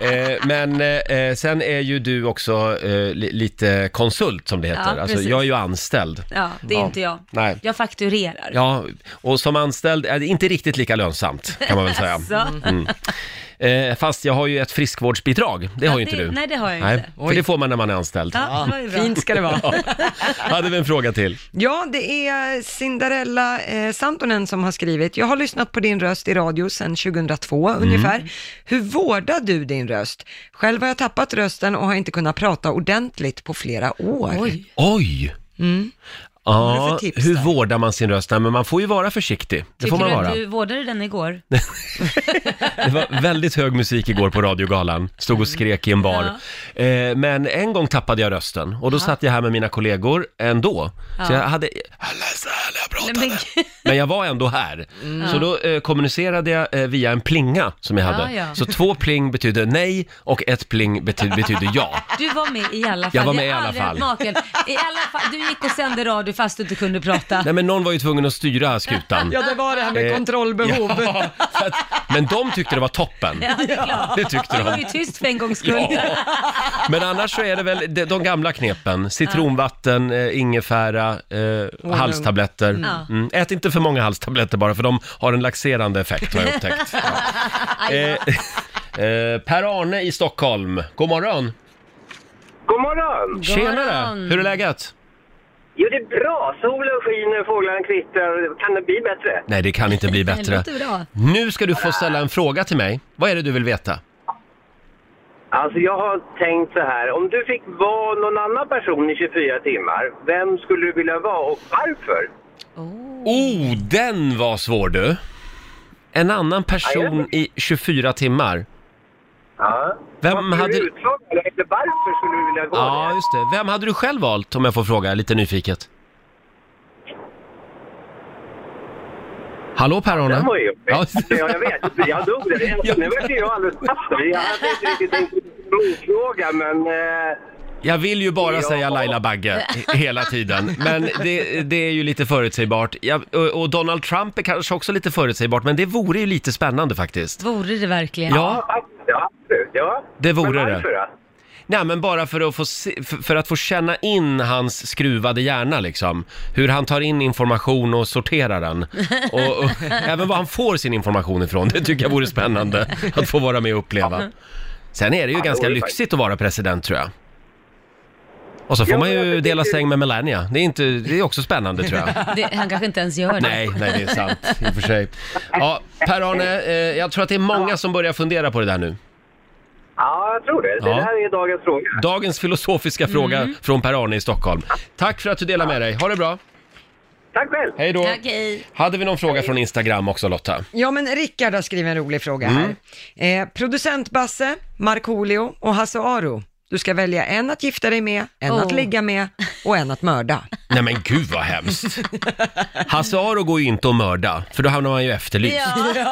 eh, men eh, sen är ju du också eh, li, lite konsult som det heter. Ja, alltså, precis. jag är ju anställd. Ja, det är inte jag. Nej. Jag fakturerar. Ja, och som anställd är det inte riktigt lika lönsamt kan man väl säga. Mm. Så. Eh, fast jag har ju ett friskvårdsbidrag, det har ju Ja, inte det- du. nej, det har jag inte. För det får man när man är anställd. Ja, det var ju bra. Fint ska det vara. Hade vi en fråga till? Ja, det är Cinderella eh, Santonen som har skrivit. Jag har lyssnat på din röst i radio sedan 2002 Mm. ungefär. Hur vårdar du din röst? Själv har jag tappat rösten och har inte kunnat prata ordentligt på flera år. Mm. Oj. Oj! Vad har Ja, du för tips hur där? vårdar man sin röst? Nej, men man får ju vara försiktig. Det får man Tycker du vara. att du vårdade den igår? Det var väldigt hög musik igår på radiogalan. Stod och skrek i en bar. Eh, men en gång tappade jag rösten och då satt jag här med mina kollegor ändå. Så Ja. jag hade... Alla så här, jag Nej, pratade. men gud. Men jag var ändå här. Så då eh, kommunicerade jag eh, via en plinga som jag hade. Ja, ja. Så två pling betydde nej och ett pling bety betydde ja. Du var med i alla fall. Jag var med Det i har alla aldrig hänt fall. maken. I alla fall. Du gick och sände radio fast du inte kunde prata. Nej men någon var ju tvungen att styra skutan. Ja, det var det här med Eh, kontrollbehov. Ja, så att, men de tyckte det var toppen. Ja, det är klart. Det tyckte Du var ju de. tyst för en gångs skull. Ja. Men annars så är det väl de, de gamla knepen. Citronvatten, eh, ingefära, eh, halstabletter. Ja. Mm. Ät inte för många halstabletter bara, för de har en laxerande effekt har jag upptäckt. Ja. Eh, eh, Per-Arne i Stockholm, god morgon! God morgon! Tjenare! morgon. Hur är läget? Jo, det är bra. Solen skiner, fåglarna kvittrar. Kan det bli bättre? Nej, det kan inte bli bättre. bra. Nu ska du få ställa en fråga till mig. Vad är det du vill veta? Alltså, jag har tänkt så här. Om du fick vara någon annan person i 24 timmar, vem skulle du vilja vara och varför? Oh, den var svår du! En annan person i 24 timmar. Ja. Vem Skulle hade... du utfråga eller eller varför skulle du vilja gå Ja, det? just det. Vem hade du själv valt om jag får fråga, lite nyfiket? Hallå Per-Arne? Den var ju jobbig. Ja. Ja, jag vet. Jag dog där. Nu vart ju jag alldeles passiv. Jag hade inte riktigt tänkt motfråga, men... Eh, Jag vill ju bara säga Laila Bagge he- hela tiden, men det, det är ju lite förutsägbart. Jag, och- och Donald Trump är kanske också lite förutsägbart, men det vore ju lite spännande faktiskt. Vore det verkligen? Ja. ja, absolut. Ja. Det vore men varför det. Då? Nej, men bara för att, få se, för, för att få känna in hans skruvade hjärna liksom. Hur han tar in information och sorterar den. Och, och även var han får sin information ifrån, det tycker jag vore spännande att få vara med och uppleva. Sen är det ju Ja, det ganska vore lyxigt att vara president tror jag. Och så får Ja, man men ju jag dela tycker- säng med Melania. Det är, inte, det är också spännande tror jag. Det, han kanske inte ens gör det. Nej, nej det är sant i och för sig. Ja, Per-Arne, eh, jag tror att det är många som börjar fundera på det där nu. Ja, jag tror det. Ja. Det här är dagens fråga. Dagens filosofiska fråga från Per-Arne i Stockholm. Tack för att du delar med dig. Ha det bra. Tack själv! Hej då. Tack, hej. Hade vi någon fråga från Instagram också Lotta? Ja, men Rickard har skrivit en rolig fråga Mm. här. Eh, producent Basse, Markoolio och Hasse Aro. Du ska välja en att gifta dig med, en att Oh. ligga med och en att mörda. Nej men gud vad hemskt. Hasse Aro går ju inte att mörda, för då hamnar man ju efterlyst.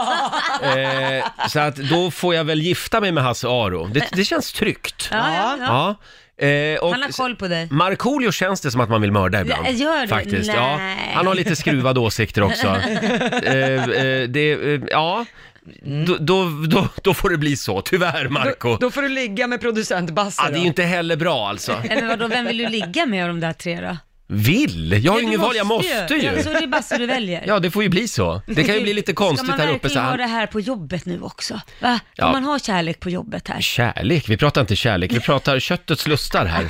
Eh, så att då får jag väl gifta mig med Hasse Aro. Det, det känns tryggt. Ja, ja, ja. Ja. Eh, och Han har koll på dig. Markoolio känns det som att man vill mörda ibland. Ja, gör det? Faktiskt. Nej. Ja, han har lite skruvade åsikter också. eh, eh, det, eh, ja, då, då, då, då får det bli så. Tyvärr, Marco. Då, då får du ligga med producent Basse ah, det är då. ju inte heller bra alltså. Eller vadå, vem vill du ligga med av de där tre då? Vill? Jag har ju Du ingen val, jag måste Ja, ju. så det är bara så du väljer. Ja, det får ju bli så. Det kan ju bli lite konstigt Ska här man uppe. Så verkligen ha det han... här på jobbet nu också? Va? Får Ja. man ha kärlek på jobbet här? Kärlek? Vi pratar inte kärlek, vi pratar köttets lustar här.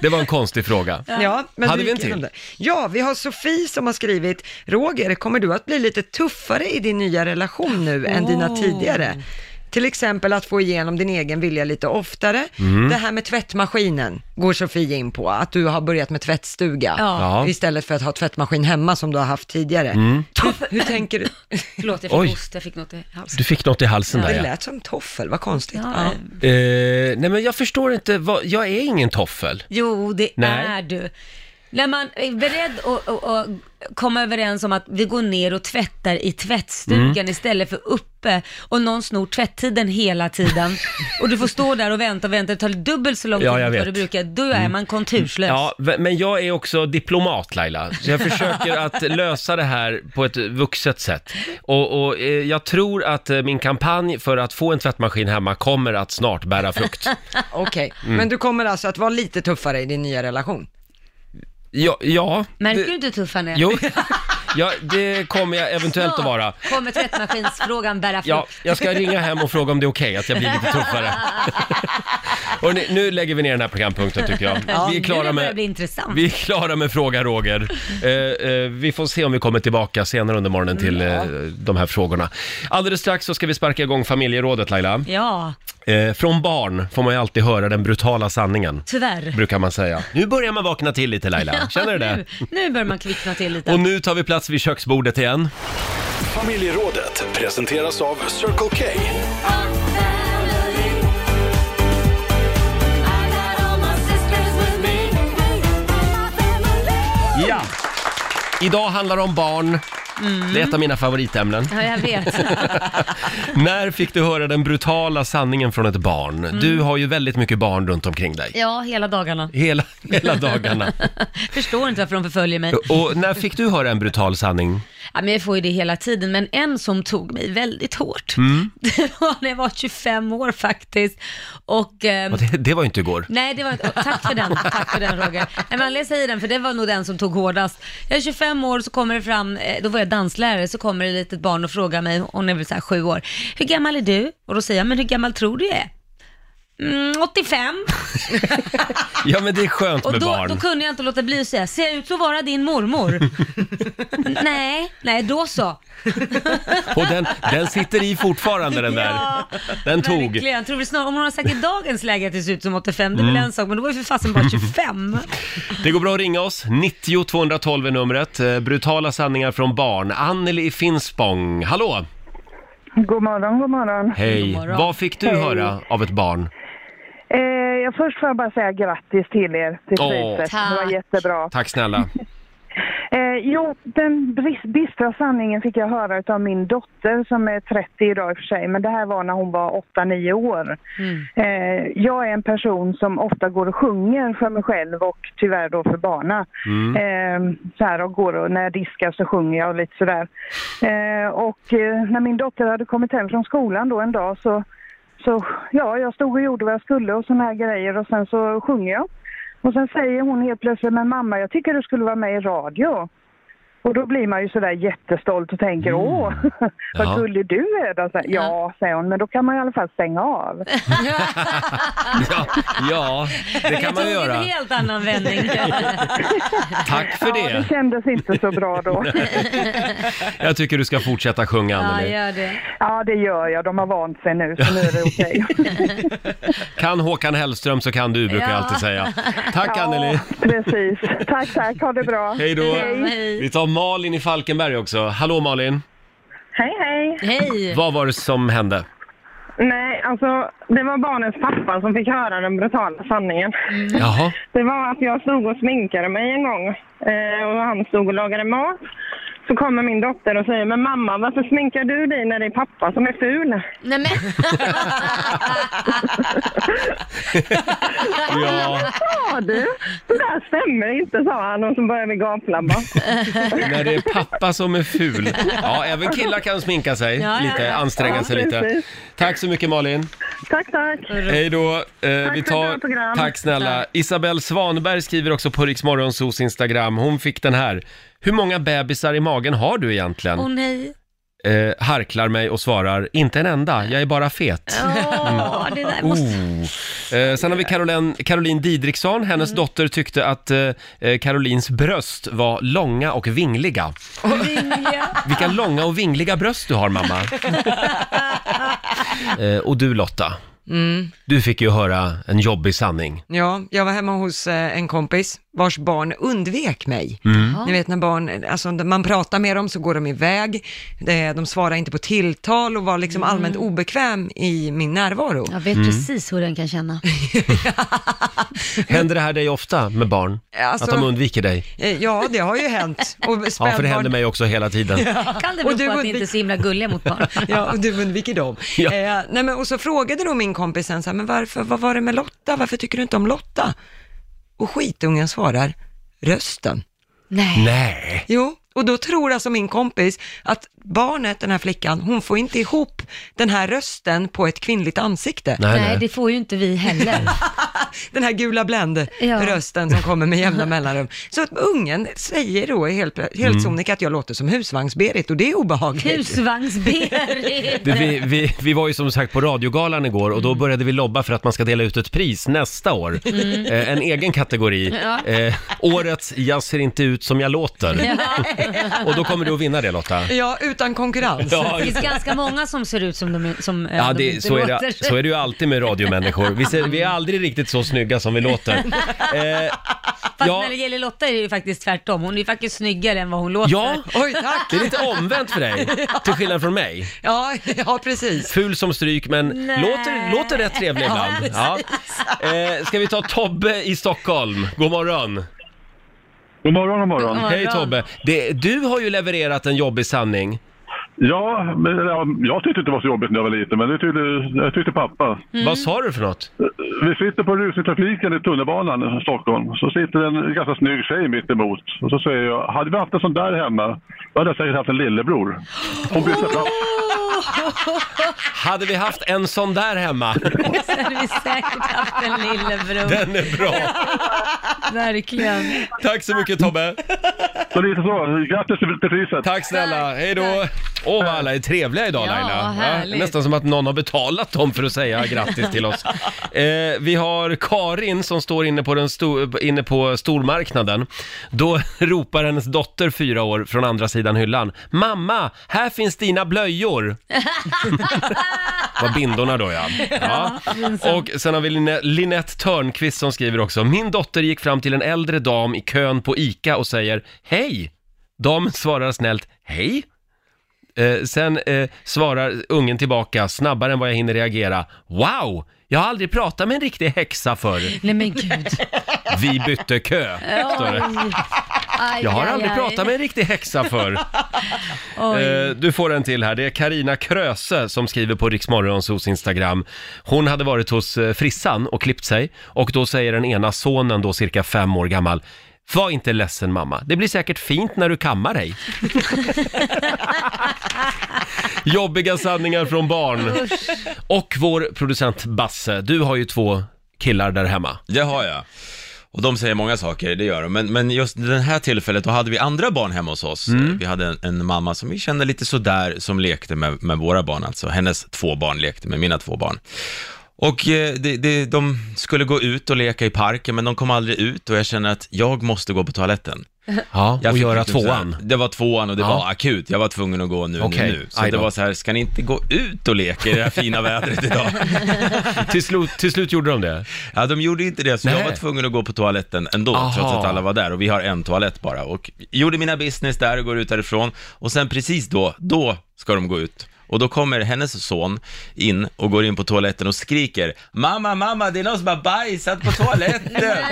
det var en konstig fråga. Ja, men Hade du vi en gick igenom till? det. Ja, vi har Sofie som har skrivit, Roger, kommer du att bli lite tuffare i din nya relation nu än dina Oh. tidigare? Till exempel att få igenom din egen vilja lite oftare. Mm. Det här med tvättmaskinen går Sofie in på, att du har börjat med tvättstuga Ja. Ja. Mm. istället för att ha tvättmaskin hemma som du har haft tidigare. Hur, hur tänker du? Förlåt, jag fick Oj. hosta, jag fick något i halsen. Du fick något i halsen där Det ja. lät som toffel, vad konstigt. Ja. Ja. Eh, nej men jag förstår inte, vad, jag är ingen toffel. Jo, det Nej. är du. När man är beredd att, att, att komma överens om att vi går ner och tvättar i tvättstugan Mm. istället för uppe och någon snor tvättiden hela tiden och du får stå där och vänta och vänta, det tar dubbelt så lång tid Ja, jag mot vad vet. Mm. du brukar, då är man konturslös. Ja, v- men jag är också diplomat Laila, så jag försöker att lösa det här på ett vuxet sätt. Och, och eh, jag tror att eh, min kampanj för att få en tvättmaskin hemma kommer att snart bära frukt. Mm. Okej, men du kommer alltså att vara lite tuffare i din nya relation? Ja, ja Märker det- du inte hur tuff han är? Jo, ja, det kommer jag eventuellt att vara. Snart kommer tvättmaskinsfrågan bära frukt. Ja, jag ska ringa hem och fråga om det är okej att jag blir lite tuffare. Och nu, nu lägger vi ner den här programpunkten tycker jag. vi, är nu klara börjar det bli med, intressant. vi är klara med Fråga Roger. Eh, eh, vi får se om vi kommer tillbaka senare under morgonen till eh, de här frågorna. Alldeles strax så ska vi sparka igång familjerådet Laila. Ja, Eh, från barn får man ju alltid höra den brutala sanningen, tyvärr. brukar man säga. Nu börjar man vakna till lite Laila, känner du det? Nu, nu börjar man kvickna till lite. Och nu tar vi plats vid köksbordet igen. Familjerådet presenteras av Circle K. Ja! Idag handlar det om barn. Det är ett av mina favoritämnen. Mm. Ja, jag vet. När fick du höra den brutala sanningen från ett barn? Mm. Du har ju väldigt mycket barn runt omkring dig. Ja, hela dagarna. Hela, hela dagarna. Förstår inte varför de förföljer mig. Och när fick du höra en brutal sanning? Ja, men jag får ju det hela tiden, men en som tog mig väldigt hårt, Mm. det var när jag var 25 år faktiskt. Och, ehm, Och Det, det var ju inte igår. Nej, det var inte... Tack för den, tack för den Roger. Nej, men anledningen säger den, för det var nog den som tog hårdast. Jag är 25 år, så kommer det fram, eh, då var jag danslärare, så kommer det ett litet barn och frågar mig, hon är väl så här sju år, hur gammal är du? Och då säger jag, men hur gammal tror du jag är? Mm, 85. Ja, men det är skönt Och med då, barn. då kunde jag inte låta bli att säga, ser jag ut så vara din mormor? nej, nej då så. Och den, den sitter i fortfarande den där. Ja, Den tog. Verkligen. Jag tror väl snarare, om hon har sagt i dagens läge att det ser ut som 85, det är Mm. väl en sak, men då var ju för fasen bara 25. Det går bra att ringa oss. 90 212 är numret. Eh, Brutala sanningar från barn. Anneli i Finspång. Hallå! God morgon, god morgon. Hej! Vad fick du Hej. höra av ett barn? Eh, jag först får jag bara säga grattis till er till Åh. priset. Det var Tack. jättebra. Tack snälla. Eh, jo, den bris- bistra sanningen fick jag höra av min dotter som är 30 idag i och för sig, men det här var när hon var 8-9 år. Mm. Eh, jag är en person som ofta går och sjunger för mig själv och tyvärr då för barna. Mm. Eh, så här och går och när jag diskar så sjunger jag och lite sådär. Eh, och eh, när min dotter hade kommit hem från skolan då en dag så, så ja, jag stod och gjorde vad jag skulle och sådana här grejer och sen så sjunger jag. Och sen säger hon helt plötsligt, men mamma jag tycker du skulle vara med i radio. Och då blir man ju sådär jättestolt och tänker, åh, vad Mm. Ja. gullig du är då. Så här, ja, säger hon, men då kan man i alla fall stänga av. Ja, ja det Jag kan man tog göra. en helt annan vändning. Tack för Ja, det det. kändes inte så bra då. Jag tycker du ska fortsätta sjunga, Anneli. gör det. Ja, det gör jag. De har vant sig nu, så nu är det okej. Kan Håkan Hellström så kan du, brukar jag alltid säga. Tack, Ja, Anneli. Precis. Tack, tack. Ha det bra. Hej då. Vi tar Malin i Falkenberg också. Hallå, Malin. Hej, hej. Hej. Vad var det som hände? Nej, alltså det var barnens pappa som fick höra den brutala sanningen. Mm. Jaha. Det var att jag stod och sminkade mig en gång eh, och han stod och lagade mat. Så kommer min dotter och säger, men mamma varför sminkar du dig när det är pappa som är ful? Nej men! Ja. Sa du? Det där stämmer inte, sa han och så började vi gaplabba. När det är pappa som är ful. Ja, även killar kan sminka sig Ja, ja, lite, ja. anstränga Ja, sig lite. precis. Tack så mycket Malin. Tack, tack. Hej då. Eh, för vi ett bra tar... program. Tack snälla. Tack. Isabelle Svanberg skriver också på Riksmorgonsos Instagram. Hon fick den här. Hur många bebisar i magen har du egentligen? Åh nej. Eh, harklar mig och svarar, inte en enda, jag är bara fet. Åh, Mm. det där måste... Oh. Eh, sen har vi Caroline, Caroline Didriksson. Hennes Mm. dotter tyckte att eh, eh, Carolines bröst var långa och vingliga. Vilka långa och vingliga bröst du har mamma. eh, och du Lotta, Mm. du fick ju höra en jobbig sanning. Ja, jag var hemma hos eh, en kompis vars barn undvek mig. Mm. Ni vet när barn, alltså när man pratar med dem så går de iväg, eh, de svarar inte på tilltal och var liksom allmänt obekväm i min närvaro. Mm. Jag vet Mm. precis hur den kan känna. Händer det här dig ofta med barn? Alltså- att de undviker dig? Eh, Ja, det har ju hänt. Och Ja, för det händer spädbarn- mig också hela tiden. Kan det Och bero du på att vi undvik- inte är så himla gulliga mot barn? Ja, och du undviker dem. Eh, nej men, och så frågade då min kompis sen så här, men varför, vad var det med Lotta? Varför tycker du inte om Lotta? Och skitungen svarar, rösten. Nej. Nej. Jo, och då tror alltså min kompis att barnet, den här flickan, hon får inte ihop den här rösten på ett kvinnligt ansikte. Nej, nej. Nej, det får ju inte vi heller. den här gula bländ-rösten som kommer med jämna mellanrum. Så att ungen säger då helt, helt Mm. sonika att jag låter som husvagns-Berit och det är obehagligt. Husvagns-Berit. Du, vi, vi, vi var ju som sagt på radiogalan igår och då började vi lobba för att man ska dela ut ett pris nästa år. Mm. Eh, en egen kategori. Ja. Eh, årets “Jag ser inte ut som jag låter”. Och då kommer du att vinna det Lotta. Ja, utan konkurrens. Ja, det just finns det. ganska många som ser ut som de, som, eh, Ja, de det, inte så, är låter. det, så är det ju alltid med radiomänniskor. Vi, ser, vi är aldrig riktigt så snygga som vi låter. Eh, Fast ja, när det gäller Lotta är det ju faktiskt tvärtom. Hon är ju faktiskt snyggare än vad hon låter. Ja. Oj, tack. det är lite omvänt för dig, Typ- till skillnad från mig. Ja, ja precis. Ful som stryk, men Nej. låter, låter rätt trevlig Ja, ibland. Ja. Eh, ska vi ta Tobbe i Stockholm? God morgon! God morgon, god morgon. God Hej morgon. Tobbe! Det, du har ju levererat en jobbig sanning. Ja, men, ja, jag tyckte inte det var så jobbigt när jag var liten, men det tyckte, jag tyckte pappa. Vad sa du för något? Vi sitter på rusningstrafiken i tunnelbanan i Stockholm. Så sitter en ganska snygg tjej mitt emot. Och så säger jag, hade vi haft en sån där hemma, då hade jag säkert haft en lillebror. Hon bytte plats. Hade vi haft en sån där hemma? Så hade vi säkert haft en lillebror. Den är bra! Verkligen. Tack så mycket Tobbe! Så lite så, grattis till priset. Tack snälla, hej då! Åh, vad alla är trevliga idag Ja, Laila. härligt. nästan som att någon har betalat dem för att säga grattis till oss. Eh, vi har Karin som står inne på, den sto- inne på stormarknaden. Då ropar hennes dotter, fyra år, från andra sidan hyllan. Mamma, här finns dina blöjor! Vad bindorna då ja. ja. Och sen har vi Lin- Linette Törnqvist som skriver också. Min dotter gick fram till en äldre dam i kön på ICA och säger Hej! Damen svarar snällt Hej! Eh, sen eh, svarar ungen tillbaka snabbare än vad jag hinner reagera. Wow! Jag har aldrig pratat med en riktig häxa förr. Nej men gud. Vi bytte kö. står det. Jag har aldrig pratat med en riktig häxa förr. Oj. Eh, du får en till här. Det är Karina Kröse som skriver på Riksmorgonsos Instagram. Hon hade varit hos eh, frissan och klippt sig och då säger den ena sonen, då cirka fem år gammal, var inte ledsen mamma, det blir säkert fint när du kammar dig. Jobbiga sanningar från barn. Och vår producent Basse, du har ju två killar där hemma. Det har jag. Och de säger många saker, det gör de. Men, men just det här tillfället, då hade vi andra barn hemma hos oss. Mm. Vi hade en, en mamma som vi kände lite sådär, som lekte med, med våra barn, alltså hennes två barn lekte med mina två barn. Och eh, det, det, de skulle gå ut och leka i parken, men de kom aldrig ut och jag känner att jag måste gå på toaletten. Ja, Jag och fick göra liksom så här- tvåan. Det var tvåan och det Ja. var akut. Jag var tvungen att gå nu, Okej, nu, nu. Så aj det då. var så här, ska ni inte gå ut och leka i det här fina vädret idag? till, slut, till slut gjorde de det? Ja, de gjorde inte det, så Nej. jag var tvungen att gå på toaletten ändå, Aha. trots att alla var där. Och vi har en toalett bara. Och gjorde mina business där och går ut därifrån. Och sen precis då, då ska de gå ut. Och då kommer hennes son in och går in på toaletten och skriker Mamma, mamma, det är någon som har bajsat på toaletten!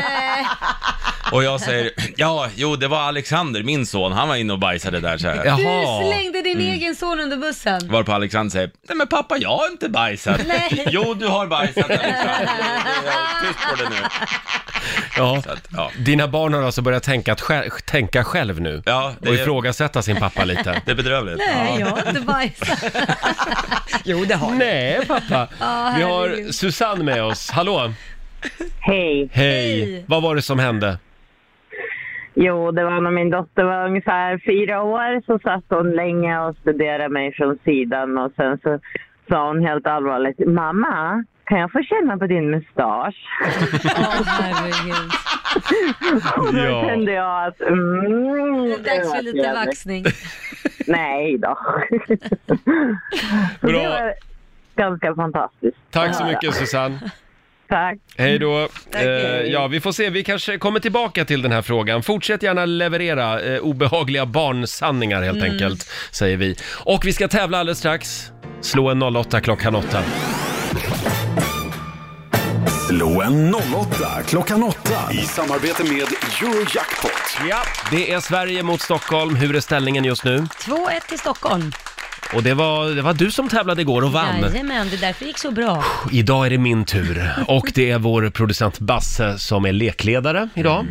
och jag säger Ja, jo, det var Alexander, min son, han var inne och bajsade där så här. Du slängde din Mm. egen son under bussen. Varpå Alexander säger, nej men pappa jag har inte bajsat. Nej. Jo du har bajsat Alexander. Jag är tyst på det nu. Ja. Dina barn har alltså börjat tänka, att själv, tänka själv nu och ifrågasätta sin pappa lite. Det är bedrövligt. Nej, jag har inte bajsat. Jo, det har Nej, pappa. Ja, Vi har herregud. Susanne med oss. Hallå! Hej. Hej! Vad var det som hände? Jo, det var när min dotter var ungefär fyra år så satt hon länge och studerade mig från sidan och sen så sa hon helt allvarligt Mamma, kan jag få känna på din mustasch? Herregud. Och då Ja. kände jag att mm, Det är dags var för lite trevligt. vaxning. Nej då. Så Det var ganska fantastiskt. Tack så Ja, mycket Susanne. Tack. Hej då. Eh, hej. ja, vi får se. Vi kanske kommer tillbaka till den här frågan. Fortsätt gärna leverera eh, obehagliga barnsanningar helt Mm. enkelt, säger vi. Och vi ska tävla alldeles strax. Slå en 08 klockan 8. Slå en 08 klockan 8 i samarbete med Eurojackpot. Ja. Det är Sverige mot Stockholm. Hur är ställningen just nu? 2-1 till Stockholm. Och det var, det var du som tävlade igår och vann. Jajamän, det är därför det gick så bra. Idag är det min tur och det är vår producent Basse som är lekledare idag.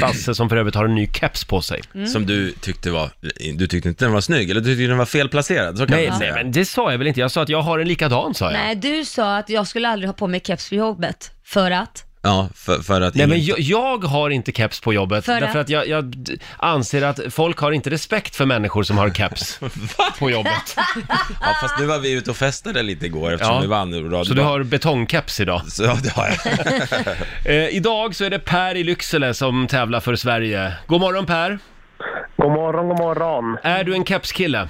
Basse som för övrigt har en ny keps på sig. Mm. Mm. Som du tyckte var, du tyckte inte den var snygg, eller du tyckte den var felplacerad, så kan Nej, man nej, säga. men det sa jag väl inte. Jag sa att jag har en likadan sa jag. Nej, du sa att jag skulle aldrig ha på mig keps vid jobbet. För att? Ja, för, för att... Nej, men jag, jag har inte keps på jobbet För att? därför att jag, jag d- anser att folk har inte respekt för människor som har keps på jobbet. Ja, fast nu var vi ute och festade lite igår eftersom Ah. Ja. vi vann radio. Så du har betongkeps idag? Ja, det har jag. Eh, idag så är det Per i Lycksele som tävlar för Sverige. God morgon Per! God morgon, god morgon. Är du en kepskille?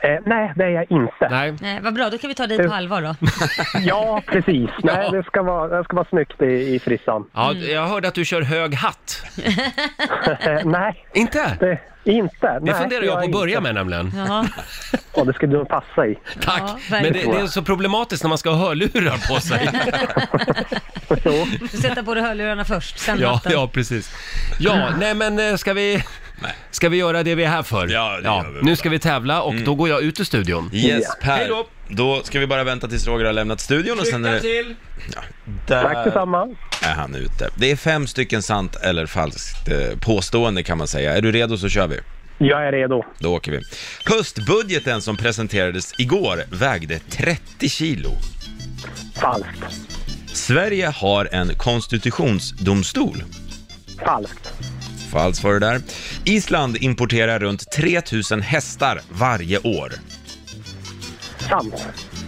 Eh, nej, det är jag inte. Nej. Nej, vad bra, då kan vi ta dig på allvar då. Ja, precis. Nej, det ska vara, det ska vara snyggt i, i frissan. Ja, jag hörde att du kör hög hatt. nej. Inte? Det, inte. Det funderar jag på att börja med nämligen. Ja. Ja, det skulle du nog passa i. Tack! Men det, det är så problematiskt när man ska ha hörlurar på sig. Du får sätta på dig hörlurarna först, sen ja, hatten. ja, precis. Ja, nej men eh, ska vi, ska vi göra det vi är här för? Ja, det gör vi. Mm. Nu ska vi tävla och då går jag ut ur studion. Yes, Per. Hej då! Då ska vi bara vänta tills Roger har lämnat studion och sen är det... Där Tack detsamma. är han ute. Det är fem stycken sant eller falskt eh, påstående kan man säga. Är du redo så kör vi. Jag är redo. Då åker vi. Höstbudgeten som presenterades igår vägde 30 kilo. Falskt. Sverige har en konstitutionsdomstol. Falskt. på alls för det där. Island importerar runt 3000 hästar varje år. Sant.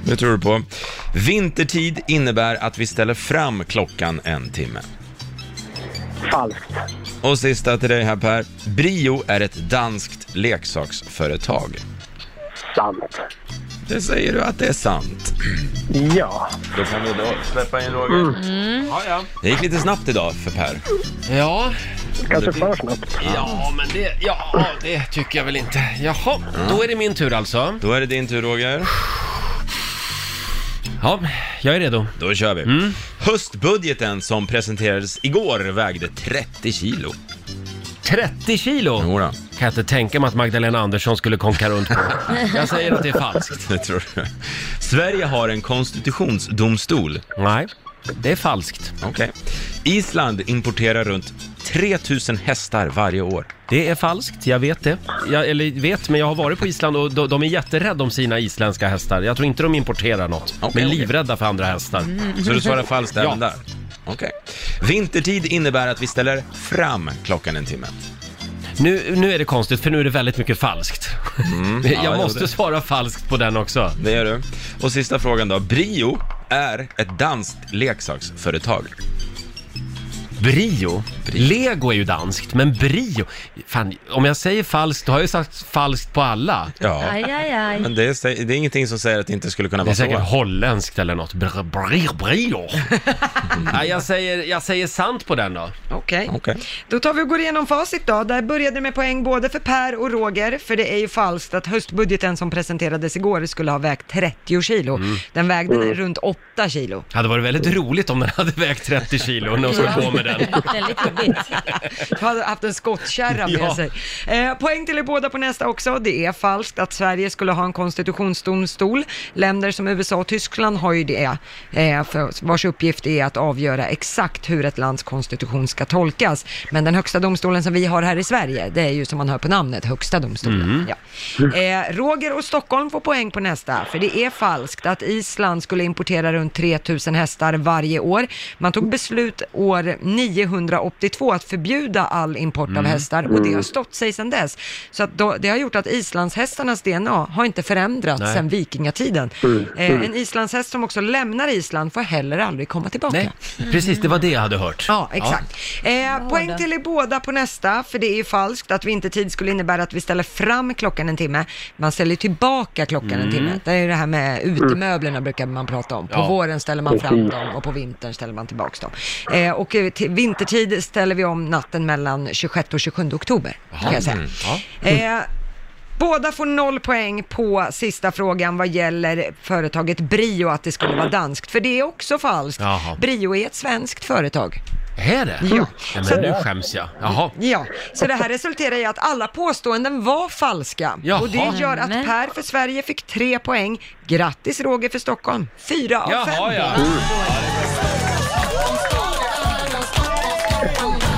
Det tror du på. Vintertid innebär att vi ställer fram klockan en timme. Falskt. Och sista till dig här Per. Brio är ett danskt leksaksföretag. Sant. Det säger du att det är sant. Ja. Då kan vi då släppa in Roger. Mm. Ja, ja. Det gick lite snabbt idag för Per. Ja. Kanske för snabbt. Ja, men det, ja, det tycker jag väl inte. Jaha, då är det min tur alltså. Då är det din tur Roger. Ja, jag är redo. Mm. Då kör vi. Höstbudgeten som presenterades igår vägde 30 kilo. 30 kilo? Jodå. Kan jag inte tänka mig att Magdalena Andersson skulle konka runt på. Jag säger att det är falskt. Det tror du. Sverige har en konstitutionsdomstol. Nej, det är falskt. Okej. Island importerar runt 3000 hästar varje år. Det är falskt, jag vet det. Jag, eller vet, men jag har varit på Island och de, de är jätterädda om sina isländska hästar. Jag tror inte de importerar något. de är okej. livrädda för andra hästar. Mm, Så du svarar falskt ja. även där? Okej. Vintertid innebär att vi ställer fram klockan en timme. Nu, nu är det konstigt, för nu är det väldigt mycket falskt. Mm. ja, jag jo, måste det- svara falskt på den också. Det gör du. Och sista frågan då. Brio är ett danskt leksaksföretag. Brio? Lego är ju danskt, men Brio... Fan, om jag säger falskt, då har jag ju sagt falskt på alla. Ja. Aj, aj, aj. Men det är, det är ingenting som säger att det inte skulle kunna Det är vara så. säkert holländskt eller något. Br- br- Brio. Nej, jag säger, jag säger sant på den då. Okej. Mm. Okej. Då tar vi och går igenom facit då. Där började det med poäng både för Per och Roger, för det är ju falskt att höstbudgeten som presenterades igår skulle ha vägt 30 kilo. Mm. Den vägde runt 8 kilo. Hade varit väldigt roligt om den hade vägt 30 kilo när de skulle på med den. Väldigt jobbigt. Jag hade haft en skottkärra med Ja. sig. Eh, poäng till er båda på nästa också. Det är falskt att Sverige skulle ha en konstitutionsdomstol. Länder som USA och Tyskland har ju det, eh, för, vars uppgift är att avgöra exakt hur ett lands konstitution ska tolkas. Men den högsta domstolen som vi har här i Sverige, det är ju som man hör på namnet, Högsta domstolen. Mm. Ja. Eh, Roger och Stockholm får poäng på nästa, för det är falskt att Island skulle importera runt 3000 hästar varje år. Man tog beslut år 982 att förbjuda all import Mm. av hästar och det har stått sig sedan dess. Så att då, det har gjort att islandshästarnas DNA har inte förändrats Nej. sedan vikingatiden. Eh, en islandshäst som också lämnar Island får heller aldrig komma tillbaka. Mm. Nej, precis, det var det jag hade hört. Ja, exakt. Eh, poäng till er båda på nästa, för det är ju falskt att vintertid skulle innebära att vi ställer fram klockan en timme. Man ställer tillbaka klockan en timme. Det är ju det här med utemöblerna brukar man prata om. På Mm. Ja. våren ställer man fram dem och på vintern ställer man tillbaka dem. Eh, och eh, till vintertid ställer vi om natten mellan 26 och 27 oktober, kan jag säga. Mm, ja. Eh, Båda får noll poäng på sista frågan vad gäller företaget Brio, att det skulle vara danskt. För det är också falskt. Jaha. Brio är ett svenskt företag. Är det? Ja. Nej, men nu skäms jag. Jaha. Ja, så det här resulterar i att alla påståenden var falska. Jaha. Och det gör att Per för Sverige fick tre poäng. Grattis Roger för Stockholm, fyra av fem. Jaha, ja.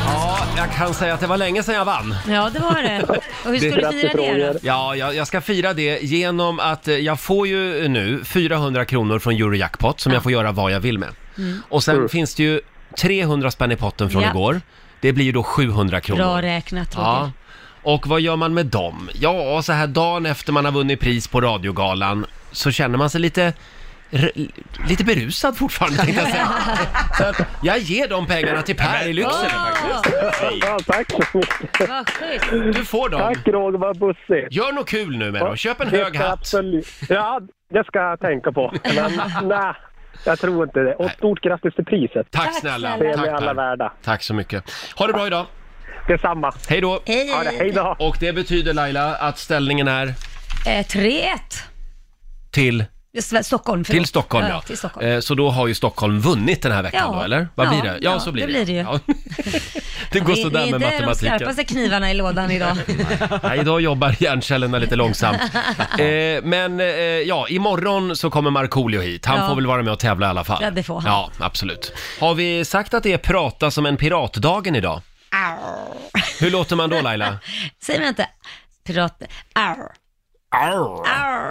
Ja, jag kan säga att det var länge sedan jag vann. Ja, det var det. Och hur Det- ska du fira det då? Ja, jag, jag ska fira det genom att eh, jag får ju nu 400 kronor från Eurojackpot som jag får göra vad jag vill med. Mm. Och sen finns det ju 300 spänn i potten från Ja. igår. Det blir ju då 700 kronor. Bra räknat, Ja. Roger. Och vad gör man med dem? Ja, så här dagen efter man har vunnit pris på radiogalan så känner man sig lite r- lite berusad fortfarande tänkte jag säga. Så att jag ger de pengarna till Per i Lycksele faktiskt. Ja, tack så mycket. Vad schysst. Du får dem. Tack Roger, vad bussigt. Gör något kul nu med dem. Köp en Det hög ska jag hatt. absolut- Ja, det ska jag tänka på. Men nej, jag tror inte det. Och stort grattis till priset. Tack snälla. Det är Tack med alla Per. värda. Tack så mycket. Ha det bra idag. Detsamma. Hej då. Ha det, hej då. Och det betyder Laila att ställningen är Eh, 3-1. till, Sve- Stockholm, förlåt. till Stockholm ja. till Stockholm. Eh, Så då har ju Stockholm vunnit den här veckan Ja. då eller? Vad Ja, blir det? Ja, ja, så blir det det. blir det ju. Ja. Det går Vi- sådär med Det är de matematiken. skarpaste knivarna i lådan idag. Nej, idag jobbar hjärncellerna lite långsamt. Eh, men eh, ja, imorgon så kommer Markoolio hit. Han Ja. får väl vara med och tävla i alla fall. Ja, det får han. Ja, absolut. Har vi sagt att det är prata som en piratdagen idag? Hur låter man då Laila? Säger man inte pirat... Arr.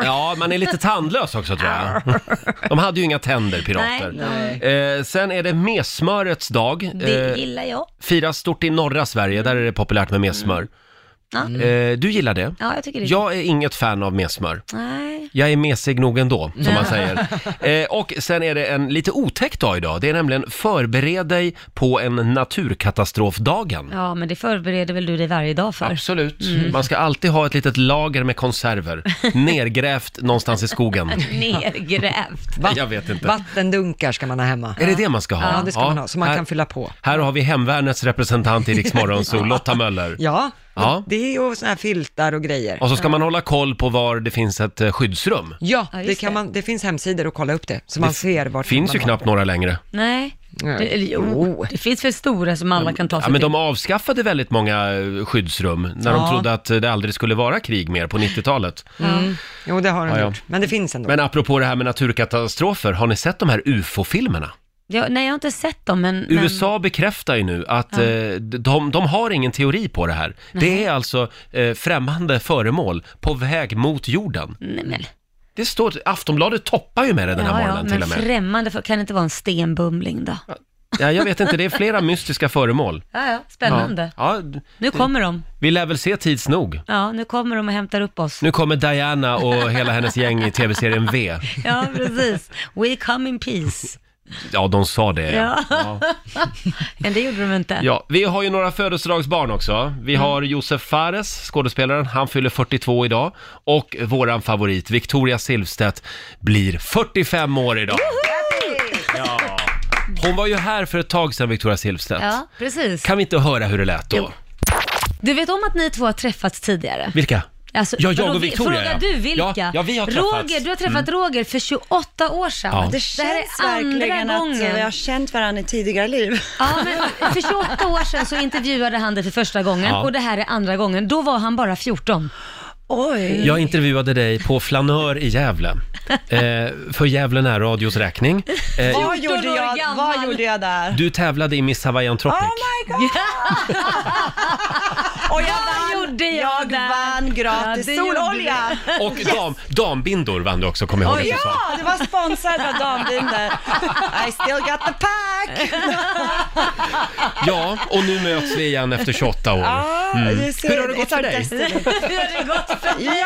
Ja, man är lite tandlös också tror jag. De hade ju inga tänder, pirater. Nej. Eh, sen är det messmörets dag. Det Eh, gillar jag. Firas stort i norra Sverige, där är det populärt med messmör. Mm. Ja. Eh, du gillar det? Ja, jag tycker det är Jag är inget fan av messmör. Nej. Jag är mesig nog ändå, som man säger. Eh, och sen är det en lite otäck dag idag. Det är nämligen förbered dig på en naturkatastrofdagen. Ja, men det förbereder väl du dig varje dag för? Mm. Absolut. Mm. Man ska alltid ha ett litet lager med konserver, nergrävt någonstans i skogen. Nergrävt. Jag vet inte. Vattendunkar ska man ha hemma. Är det det man ska ha? Ja, det ska man ha, så man här, kan fylla på. Här har vi Hemvärnets representant i Rix Morgonzoo, Lotta Möller. Ja, Ja. det är ju sådana här filtar och grejer. Och så ska man hålla koll på var det finns ett eh, skyddsrum. Ja, det, kan man, det finns hemsidor att kolla upp det, så Det man f- ser vart finns man ju har. knappt några längre. Nej. Nej. Det, eller jo, det finns väl stora alltså, som alla kan ta Ja, sig men till. de avskaffade väldigt många eh, skyddsrum när de Ja. trodde att eh, det aldrig skulle vara krig mer på 90-talet. Mm. Jo, det har de Ja, ja. gjort, men det finns ändå. Men apropå det här med naturkatastrofer, har ni sett de här ufo-filmerna? Ja, nej, jag har inte sett dem, men... men- USA bekräftar ju nu att Ja. eh, de, de har ingen teori på det här. Det Nej. är alltså eh, främmande föremål på väg mot jorden. Nej, men... Det står, Aftonbladet toppar ju med det den här ja, morgonen ja, till men och med. främmande för, kan det inte vara en stenbumling då? Ja, Ja, jag vet inte, det är flera mystiska föremål. ja, spännande. Ja. Ja, d- Nu kommer de. Vi lär väl se tids nog. Ja, nu kommer de och hämtar upp oss. Nu kommer Diana och hela hennes gäng i tv-serien V. Ja, precis. We come in peace. Ja, de sa det. Ja. Eh, Ja. men det gjorde de inte. Ja, vi har ju några födelsedagsbarn också. Vi Mm. har Josef Fares, skådespelaren, han fyller 42 idag. Och våran favorit, Victoria Silvstedt, blir 45 år idag. Ja. Hon var ju här för ett tag sedan, Victoria Silvstedt. Ja, precis. Kan vi inte höra hur det lät då? Jo. Du vet om att ni två har träffats tidigare? Vilka? Alltså, Ja, jag vadå, och vi- Victoria, Frågar ja. du vilka? Ja, ja, vi har träffats. Roger, du har träffat Mm. Roger för 28 år sedan. Ja. Det här är känns andra verkligen att, gången. eh, vi har känt varandra i tidigare liv. Ja, men för 28 år sedan så intervjuade han dig för första gången Ja. och det här är andra gången. Då var han bara 14. Mm. Oj. Jag intervjuade dig på Flanör i Gävle. Eh, för Gävle närradios räkning. Eh, vad, gjorde 14 år jag, vad gjorde jag där? du tävlade i Miss Hawaiian Tropic. Oh Och jag vann, gjorde jag vann gratis Ja, det gjorde sololja! Och dam, dambindor vann du också, kommer jag ihåg Oj, att du sa. ja, det var sponsrad av damvinder. I still got the pack! Ja, och nu möts vi igen efter 28 år. Ja, Mm. du ser, Hur har det gått it's för our dig? destiny. har det gått för dig?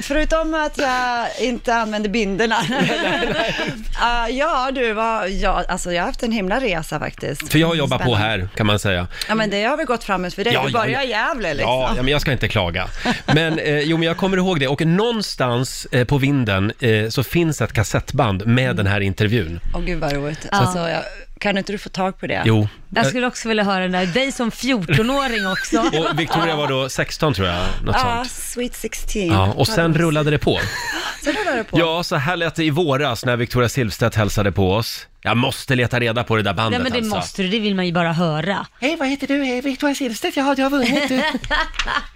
Förutom att jag inte använder binderna. Ah, ja, du, var, ja, alltså jag har haft en himla resa faktiskt. För jag jobbar på Spännande. här, kan man säga. Ja, men det har väl gått framåt för dig. Ja, du ja, börjar ja. i Gävle liksom. Ja, ja, men jag ska inte klaga. Men eh, jo, men jag kommer ihåg det. Och någonstans eh, på vinden eh, så finns ett kassettband med den här intervjun. Åh gud vad roligt. Ja. Alltså, jag, kan inte du få tag på det? Jo. Jag skulle också vilja höra den där, dig som 14-åring också. Och Victoria var då 16 tror jag, något Ja, sånt. Sweet 16. Ja, och sen rullade det på. Sen rullar det på. Ja, så här lät det i våras när Victoria Silvstedt hälsade på oss. Jag måste leta reda på det där Nej bandet men det alltså. måste du, det vill man ju bara höra. Hej, vad heter du? Hej, Victoria Silvstedt. Ja, du har vunnit.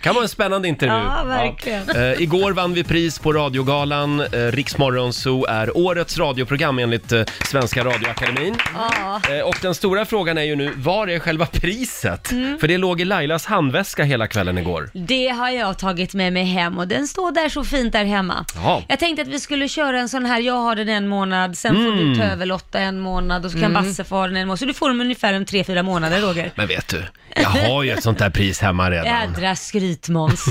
kan vara en spännande intervju. Ja, verkligen. Ja. Eh, igår vann vi pris på radiogalan. Eh, Riksmorgonzoo är årets radioprogram enligt eh, Svenska Radioakademin. Ja. Eh, och den stora frågan är ju nu, var är själva priset? Mm. För det låg i Lailas handväska hela kvällen igår. Det har jag tagit med mig hem och den står där så fint där hemma. Ja. Jag tänkte att vi skulle köra en sån här, jag har den en månad, sen får Mm. du ta över Lotta en månad och så kan Mm. Basse få ha den en månad. Så du får dem ungefär om tre, fyra månader Roger. Men vet du, jag har ju ett sånt där pris hemma redan. Jädra skrytmåns.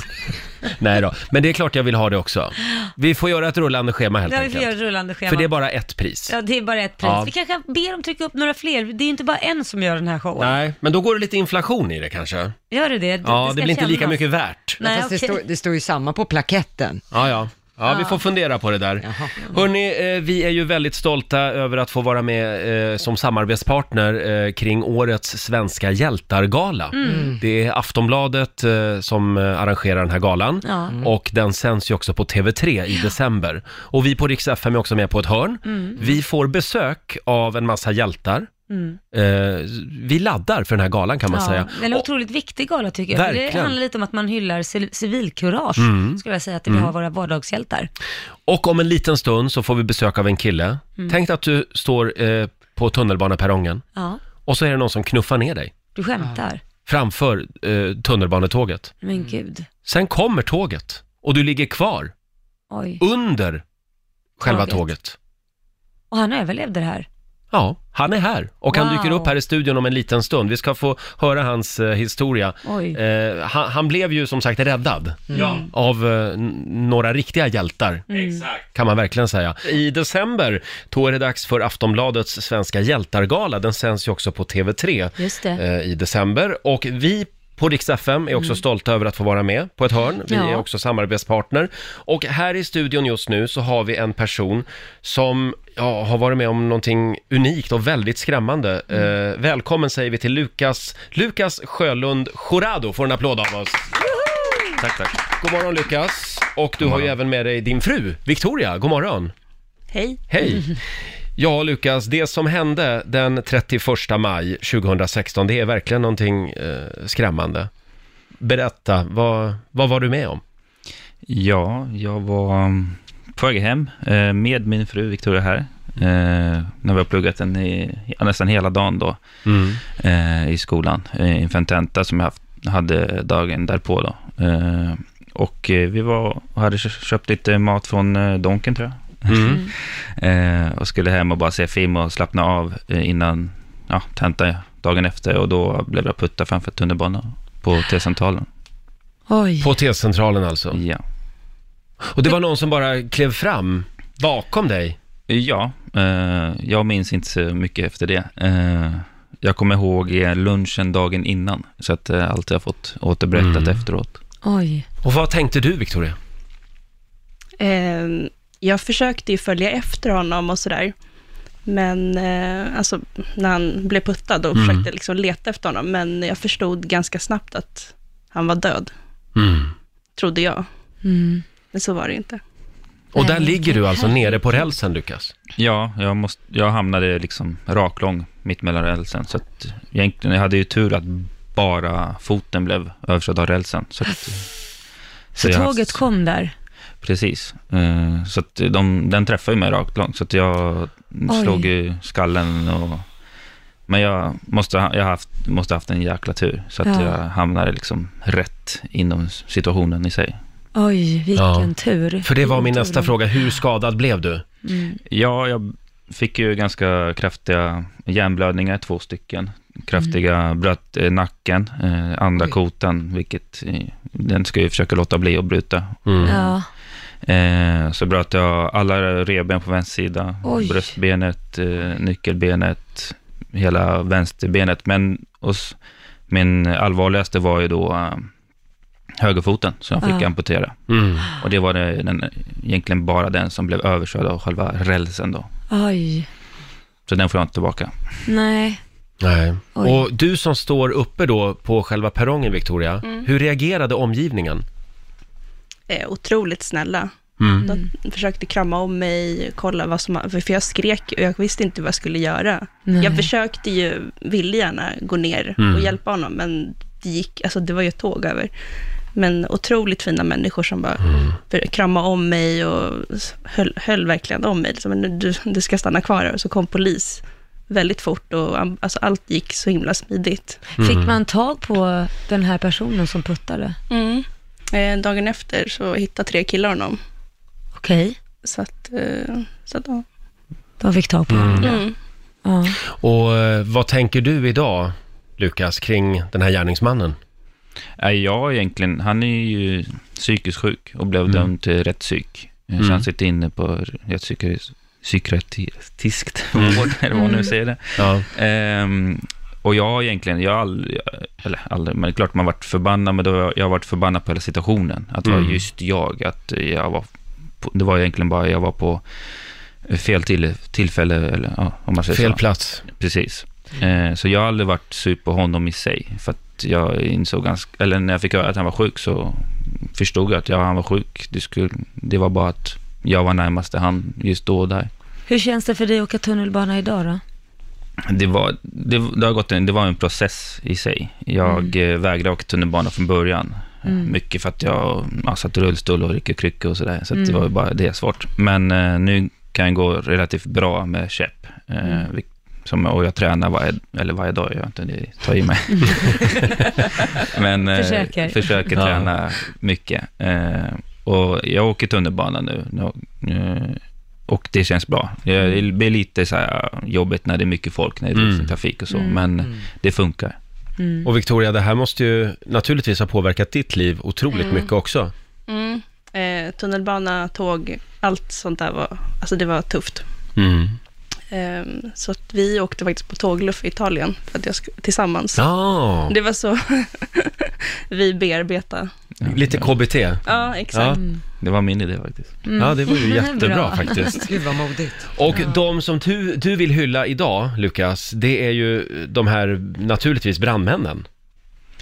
Nej då, men det är klart jag vill ha det också. Vi får göra ett rullande schema helt Ja, vi enkelt. får göra ett rullande schema. För det är bara ett pris. Ja, det är bara ett pris. Ja. Vi kanske ber dem trycka upp några fler. Det är ju inte bara en som gör den här showen. Nej, men då går det lite inflation i det kanske. Gör du det? Ja, ska det blir inte lika kännas. mycket värt. Nej, Fast det, okej. står, det står ju samma på plaketten. Ja, ja. Ja, vi Ah. Ja. får fundera på det där. Hörni, eh, vi är ju väldigt stolta över att få vara med eh, som samarbetspartner eh, kring årets Svenska hjältargala. Mm. Det är Aftonbladet eh, som eh, arrangerar den här galan Ja. Mm. och den sänds ju också på TV3 i december. Och vi på Rix FM är också med på ett hörn. Mm. Vi får besök av en massa hjältar. Mm. Eh, vi laddar för den här galan kan man Ja, säga. Det är en otroligt viktig gala tycker jag. För Det Verkligen. handlar lite om att man hyllar cil- civilkurage, Mm. skulle jag säga att vi Mm. har våra vardagshjältar. Och om en liten stund så får vi besök av en kille. Mm. Tänk dig att du står eh, på tunnelbaneperrongen Ja, och så är det någon som knuffar ner dig du skämtar. framför eh, tunnelbanetåget. Men gud. Sen kommer tåget och du ligger kvar Oj. under själva Tåget. tåget. Och han överlevde det här. Ja, han är här och han Wow. dyker upp här i studion om en liten stund. Vi ska få höra hans eh, historia. Oj. Mm. Eh, han, han blev ju som sagt räddad Ja. av eh, n- några riktiga hjältar. Exakt. Kan man verkligen säga. I december, då är det dags för Aftonbladets Svenska hjältargala. Den sänds ju också på TV3 Just det. eh, i december. Och vi på Rix FM är också Mm. stolta över att få vara med på ett hörn. Vi Ja. är också samarbetspartner. Och här i studion just nu så har vi en person som ja, har varit med om någonting unikt och väldigt skrämmande. Eh, välkommen säger vi till Lukas, Lukas Sjölund Jurado. Får en applåd av oss. Tack, tack. God morgon Lukas. Och du har ju även med dig din fru, Victoria. God morgon. Hej. Hej! Ja, Lukas, det som hände den 31 maj 2016, det är verkligen någonting eh, skrämmande. Berätta, vad, vad var du med om? Ja, jag var um, på väg hem eh, med min fru Victoria här. eh, När vi har pluggat den i, ja, nästan hela dagen då Mm. eh, i skolan eh, inför en tenta som jag haft, hade dagen därpå då. Eh, Och eh, vi var och hade kö- köpt lite mat från eh, Donken tror jag. Mm. Eh, och skulle hem och bara se film och slappna av eh, innan ja, tenta dagen efter och då blev jag puttad framför tunnelbanan på T-centralen. Oj. På T-centralen alltså? Ja. Och det var någon som bara klev fram bakom dig? Ja, eh, jag minns inte så mycket efter det. Eh, jag kommer ihåg eh, lunchen dagen innan, så att eh, allt jag fått återberättat Mm. efteråt. Oj. Och vad tänkte du, Victoria? Eh, jag försökte ju följa efter honom och sådär. Men eh, alltså, när han blev puttad och Mm. försökte liksom leta efter honom. Men jag förstod ganska snabbt att han var död, Mm. trodde jag. Men så var det ju inte. Och där ligger du alltså nere på rälsen, Lukas? Ja, jag, måste, jag hamnade liksom raklång mitt mellan rälsen, så att egentligen, jag hade ju tur att bara foten blev överkörd av rälsen. Så, att, Så jag- tåget kom där. Precis. Eh, Så att de, den träffade ju mig rakt långt, så att jag Oj. slog ju skallen och... Men jag måste ha jag har haft, måste haft en jäkla tur, så att Ja. jag hamnade liksom rätt inom situationen i sig. Oj, vilken tur. För det var min Vilken nästa tur. Fråga, hur skadad blev du? Mm. Ja, jag fick ju ganska kraftiga hjärnblödningar, två stycken. Kraftiga, Mm. bröt eh, nacken, eh, andra kotan, vilket eh, den ska jag ju försöka låta bli att bryta. Mm. Ja. Eh, så bröt jag alla revben på vänster sida, Oj. bröstbenet, eh, nyckelbenet, hela vänsterbenet. Men hos, min allvarligaste var ju då eh, högerfoten som jag fick Ja. amputera. Mm. Och det var det, den, egentligen bara den som blev överkörd av själva rälsen då. Oj. Så den får jag inte tillbaka. Nej. Nej. Oj. Och du som står uppe då på själva perrongen, Victoria, Mm. hur reagerade omgivningen? Eh, otroligt snälla. Mm. De försökte krama om mig, kolla vad som... För jag skrek och jag visste inte vad jag skulle göra. Nej. Jag försökte ju, ville gärna gå ner Mm. och hjälpa honom, men det gick, alltså det var ju ett tåg över. Men otroligt fina människor som bara för- kramade om mig och s- höll, höll verkligen om mig. Liksom, "Men nu, du, du ska stanna kvar här. Och så kom polis väldigt fort och um, alltså, allt gick så himla smidigt. Mm. Fick man tag på den här personen som puttade? Mm. Eh, dagen efter så hittade tre killar honom. Okej, Så att, eh, så att ja. de fick tag på Mm. honom. Ja. Och eh, vad tänker du idag, Lukas, kring den här gärningsmannen? Nej, jag egentligen, han är ju psykiskt sjuk och blev Mm. dömd till rätt psyk. Mm. Så han sitter inne på rätt psykis- psykiatriskt Mm. vård, eller vad man nu Mm. säger det. Ja. Ehm, och jag har egentligen, jag har aldrig, eller aldrig, men det är klart man har varit förbannad, men då har jag- jag har varit förbannad på hela situationen. Att det var Mm. just jag, att jag var, på, det var egentligen bara jag var på fel till, tillfälle, eller ja, om man säger Fel så. plats. Precis. Eh, så jag har aldrig varit sur på honom i sig, för att jag insåg ganska, eller när jag fick höra att han var sjuk så förstod jag att ja, han var sjuk. Det, skulle, det var bara att jag var närmaste han just då och där. Hur känns det för dig att åka tunnelbana idag då? Det var, det, det har gått en, det var en process i sig. Jag eh, vägrade åka tunnelbana från början. Eh, Mm. Mycket för att jag ja, satt i rullstol och ryckte kryckor och sådär. Så att det Mm. var ju bara det svårt. Men eh, nu kan jag gå relativt bra med käpp. Eh, Mm. vil- som, och jag tränar varje, eller varje dag, gör jag inte det, tar i mig. Men eh, Försöker. försöker Ja. träna mycket. Eh, Och jag åker tunnelbana nu. nu- nu- Och det känns bra. Det det blir lite så här jobbigt när det är mycket folk, när det är Mm. mm. trafik och så, Mm. men det funkar. Mm. Och Victoria, det här måste ju naturligtvis ha påverkat ditt liv otroligt Mm. mycket också. Mm. Eh, tunnelbana, tåg, allt sånt där var, alltså det var tufft. Mm. Ehm, så att vi åkte faktiskt på tågluff i Italien för att jag sk- tillsammans. Ja. Det var så vi bearbetade. Lite KBT. Ja, exakt. Det var min idé faktiskt. Mm. Ja, det var ju jättebra Bra. faktiskt. Gud vad modigt. Och de som du, du vill hylla idag, Lukas, det är ju de här, naturligtvis, brandmännen.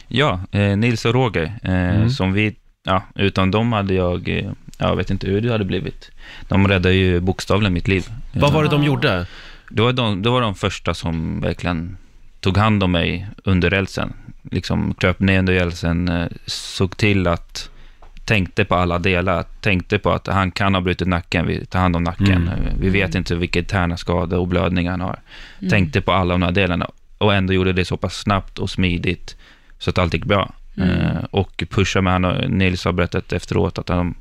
Ja, eh, Nils och Roger, eh, Mm. som vi, ja, utan dem hade jag, eh, jag vet inte hur det hade blivit. De räddade ju bokstavligen mitt liv. Vad var det de gjorde? Det var de, det var de första som verkligen tog hand om mig under rälsen. Liksom kröp ner under rälsen, eh, såg till att, tänkte på alla delar, tänkte på att han kan ha brutit nacken, vi tar hand om nacken. Mm. Vi vet inte vilka interna skador och blödningar han har. Mm. Tänkte på alla de här delarna och ändå gjorde det så pass snabbt och smidigt så att allt gick bra. Mm. Eh, och pusha med honom. Nils har berättat efteråt att han,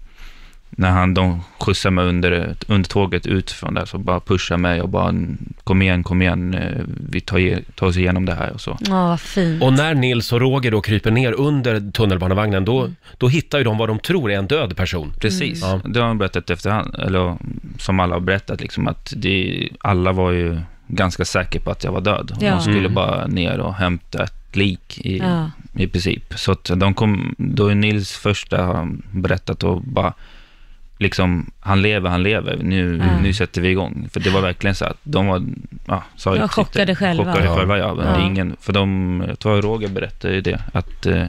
när han, de skjutsade mig under, under tåget ut från där, så bara pusha mig och bara "Mm, kom igen, kom igen, eh, vi tar, ge- tar oss igenom det här och så. Ja, vad fint. Och när Nils och Roger då kryper ner under tunnelbanevagnen, då, då hittar ju de vad de tror är en död person. Mm. Mm. Precis, Ja. det har han berättat efterhand, eller som alla har berättat liksom, att det, alla var ju ganska säkra på att jag var död. Ja. De skulle Mm. bara ner och hämta ett lik i, Ja. i princip. Så att de kom, då är Nils första har han berättat och bara, liksom, han lever, han lever, nu, Ja. nu sätter vi igång. För det var verkligen så att de var, ja, sa De ju- chockade själva. Chockade Ja. själva, ja. Men Ja. Det är ingen, för de, jag tror Roger berättade ju det, att eh,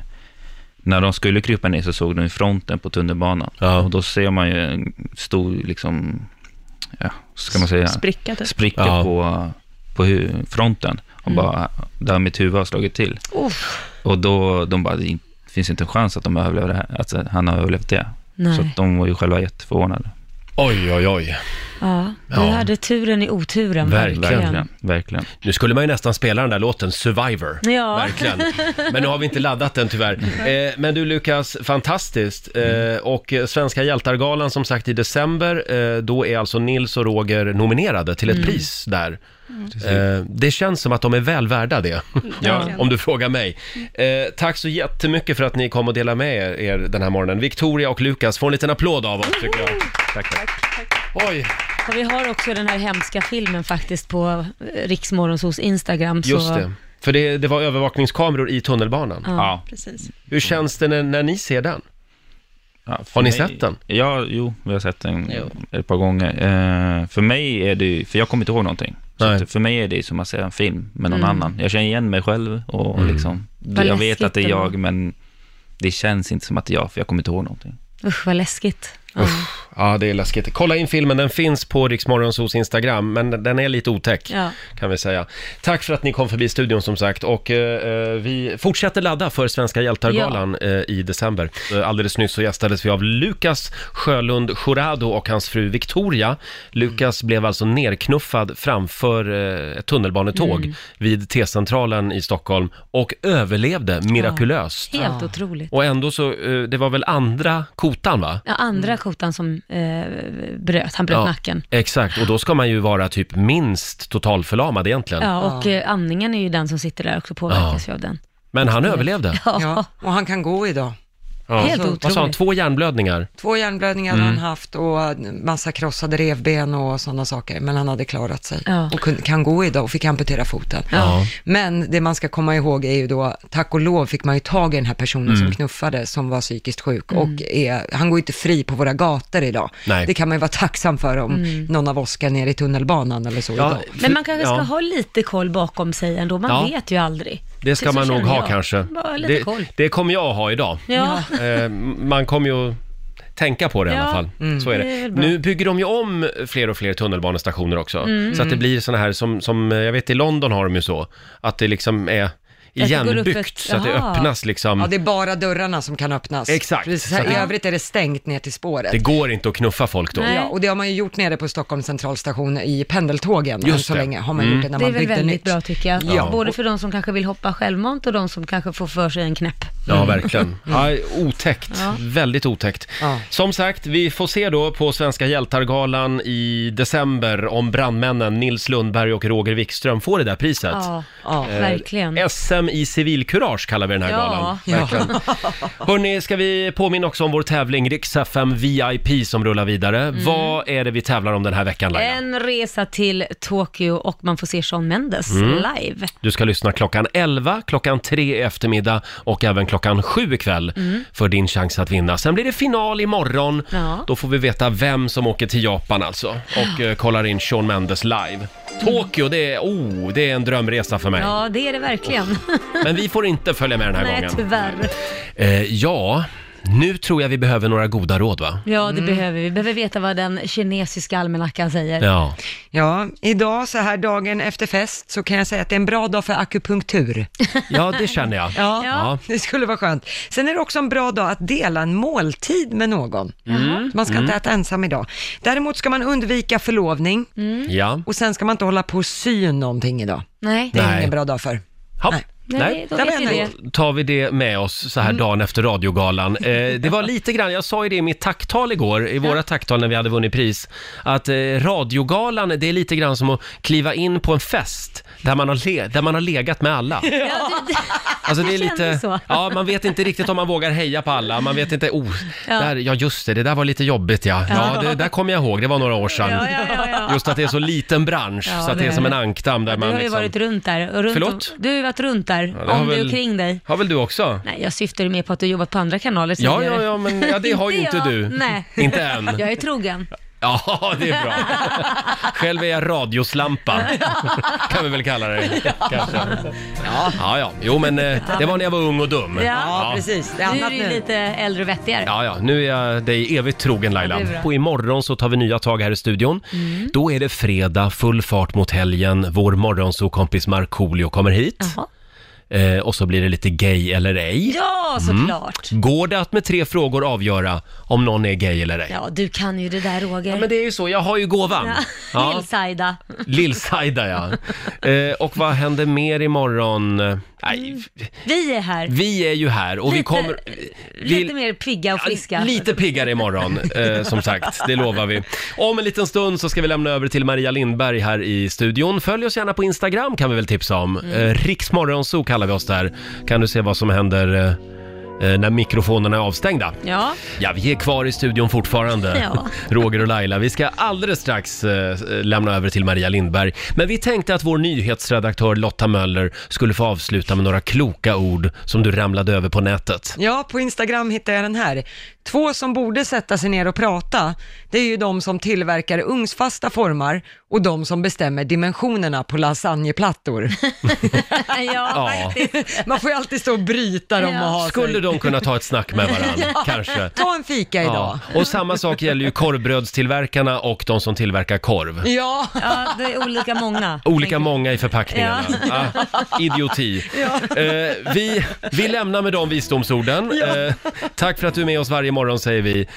när de skulle krypa ner så såg de ju fronten på tunnelbanan. Och då ser man ju en stor, liksom, ja, ska man säga? Spricka, typ. Spricka Ja. på, på hu- fronten. Och Mm. bara, där mitt huvud har slagit till. Uff. Och då, de bara, det finns inte en chans att de överlever det här, att han har överlevt det. Nej. Så att de var ju själva jätteförvånade. Oj, oj, oj. Ja, du Ja. hade turen i oturen. verkligen. verkligen. Nu skulle man ju nästan spela den där låten, Survivor. Ja. Verkligen. Men nu har vi inte laddat den tyvärr. Eh, men du Lukas, fantastiskt. Eh, Mm. och eh, Svenska Hjältargalan som sagt i december, eh, då är alltså Nils och Roger nominerade till ett Mm. pris där. Eh, det känns som att de är väl värda det, Mm, Ja. om du frågar mig. Mm. Eh, tack så jättemycket för att ni kom och delade med er, er den här morgonen. Victoria och Lukas, får en liten applåd av oss tycker jag. Tack, tack. Oj. Och vi har också den här hemska filmen faktiskt på eh, Riksmorgonsos Instagram. Just så... det. För det, det var övervakningskameror i tunnelbanan. Ja, Ja. precis. Hur känns det när, när ni ser den? Har ni sett den? Ja, jo, vi har sett den ett par gånger. Eh, för mig är det ju- för jag kommer inte ihåg någonting. Så att för mig är det som att se en film med någon Mm. annan. Jag känner igen mig själv och Mm. liksom, Vad jag vet att det är läskigt jag, ändå. men det känns inte som att det är jag, för jag kommer inte ihåg någonting. Usch, vad läskigt. Uff, ja, det är läskigt. Kolla in filmen, den finns på Riksmorgonsos Instagram, men den är lite otäck Ja. kan vi säga. Tack för att ni kom förbi studion som sagt och eh, eh, vi fortsätter ladda för Svenska Hjältargalan eh, i december. Eh, Alldeles nyss så gästades vi av Lukas Sjölund Jurado och hans fru Victoria. Lukas blev alltså nerknuffad framför eh, ett tunnelbanetåg Mm. vid T-centralen i Stockholm och överlevde mirakulöst. Ja, helt otroligt. Och ändå så, eh, det var väl andra kotan va? Ja, andra kotan som eh, bröt, han bröt Ja, nacken. Exakt, och då ska man ju vara typ minst totalförlamad egentligen. Ja, och eh, andningen är ju den som sitter där också, påverkas Ja. ju av den. Men han överlevde. Ja. Och han kan gå idag. Ja. Helt Vad sa han, otroligt. två hjärnblödningar? Två hjärnblödningar Mm. hade han haft och massa krossade revben och sådana saker, men han hade klarat sig och kunde, kan gå idag och fick amputera foten. Ja. Men det man ska komma ihåg är ju då, tack och lov fick man ju tag i den här personen Mm. som knuffade, som var psykiskt sjuk Mm. och är, han går ju inte fri på våra gator idag. Nej. Det kan man ju vara tacksam för om Mm. någon av oss ska ner i tunnelbanan eller så Ja, idag. Men man kanske ska Ja. ha lite koll bakom sig ändå, man Ja. vet ju aldrig. Det ska Så man nog känner ha jag. kanske. Bara lite Det, koll. det kommer jag att ha idag. Ja. Eh, man kommer ju att tänka på det i Ja. alla fall. Mm. Så är det. Det är väl bra. nu bygger de ju om fler och fler tunnelbanestationer också. Mm. Så att det Mm. blir såna här som, som, eh, jag vet i London har de ju så, att det liksom är går upp igenbyggt ett- så att det Jaha. öppnas liksom. Ja, det är bara dörrarna som kan öppnas. Exakt. Precis, Så här, att I det- övrigt är det stängt ner till spåret. Det går inte att knuffa folk då. Ja, och det har man ju gjort nere på Stockholms centralstation i pendeltågen än Just så det. länge. Har man Mm. gjort det när Det är man väl byggde väldigt nytt. bra tycker jag. Ja. Både för de som kanske vill hoppa självmant och de som kanske får för sig en knäpp. Ja, verkligen. Ja, otäckt. Mm. Ja. Väldigt otäckt. Som sagt, vi får se då på Svenska hjältargalan i december om brandmännen Nils Lundberg och Roger Wikström får det där priset. Ja, ja, Eh, verkligen. SM i civilkurage kallar vi den här Ja. galan. Ja. Verkligen. Hörni, ska vi påminna också om vår tävling Rix FM VIP som rullar vidare. Mm. Vad är det vi tävlar om den här veckan Laila? En resa till Tokyo och man får se Shawn Mendes Mm. live. Du ska lyssna klockan 11, klockan 3 i eftermiddag och även klockan 7 ikväll Mm. för din chans att vinna. Sen blir det final imorgon. Ja. Då får vi veta vem som åker till Japan alltså och eh, kollar in Shawn Mendes live. Tokyo, det är, oh, det är en drömresa för mig. Ja, det är det verkligen. Men vi får inte följa med den här Nej, gången. tyvärr. Eh, ja, nu tror jag vi behöver några goda råd va? Ja, det behöver vi. Vi behöver veta vad den kinesiska almanackan säger. Ja. Ja, idag så här dagen efter fest så kan jag säga att det är en bra dag för akupunktur. Ja, det känner jag. Ja, det skulle vara skönt. Sen är det också en bra dag att dela en måltid med någon. Mm. Man ska inte Mm. äta ensam idag. Däremot ska man undvika förlovning Ja. och sen ska man inte hålla på och sy någonting idag. Nej. Det är Nej. ingen bra dag för. Hopp. Nej, då Där vet var vi jag det. Mm. nöjd. tar vi det med oss så här dagen efter radiogalan. Eh, det var lite grann, jag sa ju det i mitt tacktal igår, i våra tacktal när vi hade vunnit pris, att eh, radiogalan, det är lite grann som att kliva in på en fest där man har, le- där man har legat med alla. Ja, det, det, Alltså det är jag kände lite, så. ja man vet inte riktigt om man vågar heja på alla, man vet inte, oh, Ja. där, ja just det, det där var lite jobbigt ja. Ja, det där kommer jag ihåg, det var några år sedan. Ja, ja, ja, ja. Just att det är så liten bransch, Ja, så att det är det- som en ankdamm där Du man har ju liksom... varit runt där. Och runt Förlåt? Om, du har ju varit runt där, Ja, det har om dig väl- och kring dig. Har väl du också? Nej, jag syftar ju mer på att du har jobbat på andra kanaler Ja, tidigare. ja, ja, men- ja, det har ju inte jag. du. Nej. Inte än. Jag är trogen. Ja, det är bra. Själv är jag radioslampa, kan vi väl kalla det. Kanske. Ja. ja, ja. Jo, men eh, det var när jag var ung och dum. Det är nu är annat du ju nu. lite äldre och vettigare. Ja, ja, nu är jag dig evigt trogen Laila. Ja, det är bra. och imorgon så tar vi nya tag här i studion. Mm. Då är det fredag, full fart mot helgen. Vår morgonsokompis Markoolio kommer hit. Eh, och så blir det lite gay eller ej. Ja, såklart. Mm. Går det att med tre frågor avgöra om någon är gay eller ej? Ja, du kan ju det där Roger. Ja, men det är ju så. Jag har ju gåvan. Ja. Lill-Saida. Lill-Saida ja. Eh, och vad händer mer imorgon? Eh, Nej, Vi är här. vi är ju här och vi Mm. Lite- kommer... Lite mer pigga och friska. Ja, Lite piggare imorgon, eh, som sagt. Det lovar vi. Om en liten stund så ska vi lämna över till Maria Lindberg här i studion. Följ oss gärna på Instagram kan vi väl tipsa om. Mm. Mm. Riksmorgonzoo kallar vi oss där. Kan du se vad som händer eh, eh, när mikrofonerna är avstängda. Ja. Ja, vi är kvar i studion fortfarande, Ja. Roger och Laila. Vi ska alldeles strax eh, lämna över till Maria Lindberg. Men vi tänkte att vår nyhetsredaktör Lotta Möller skulle få avsluta med några kloka ord som du ramlade över på nätet. Ja, på Instagram hittade jag den här. Två som borde sätta sig ner och prata, det är ju de som tillverkar ugnsfasta formar och de som bestämmer dimensionerna på lasagneplattor. ja, Man får ju alltid stå och bryta dem och ha Skulle sig. de kunna ta ett snack med varandra, kanske? Ta en fika idag. Ja. Och samma sak gäller ju korvbrödstillverkarna och de som tillverkar korv. Ja. ja, det är olika många. Olika många i förpackningarna. Ja. Ah, idioti. Ja. Eh, vi, vi lämnar med de visdomsorden. Eh, tack för att du är med oss varje morgon säger vi.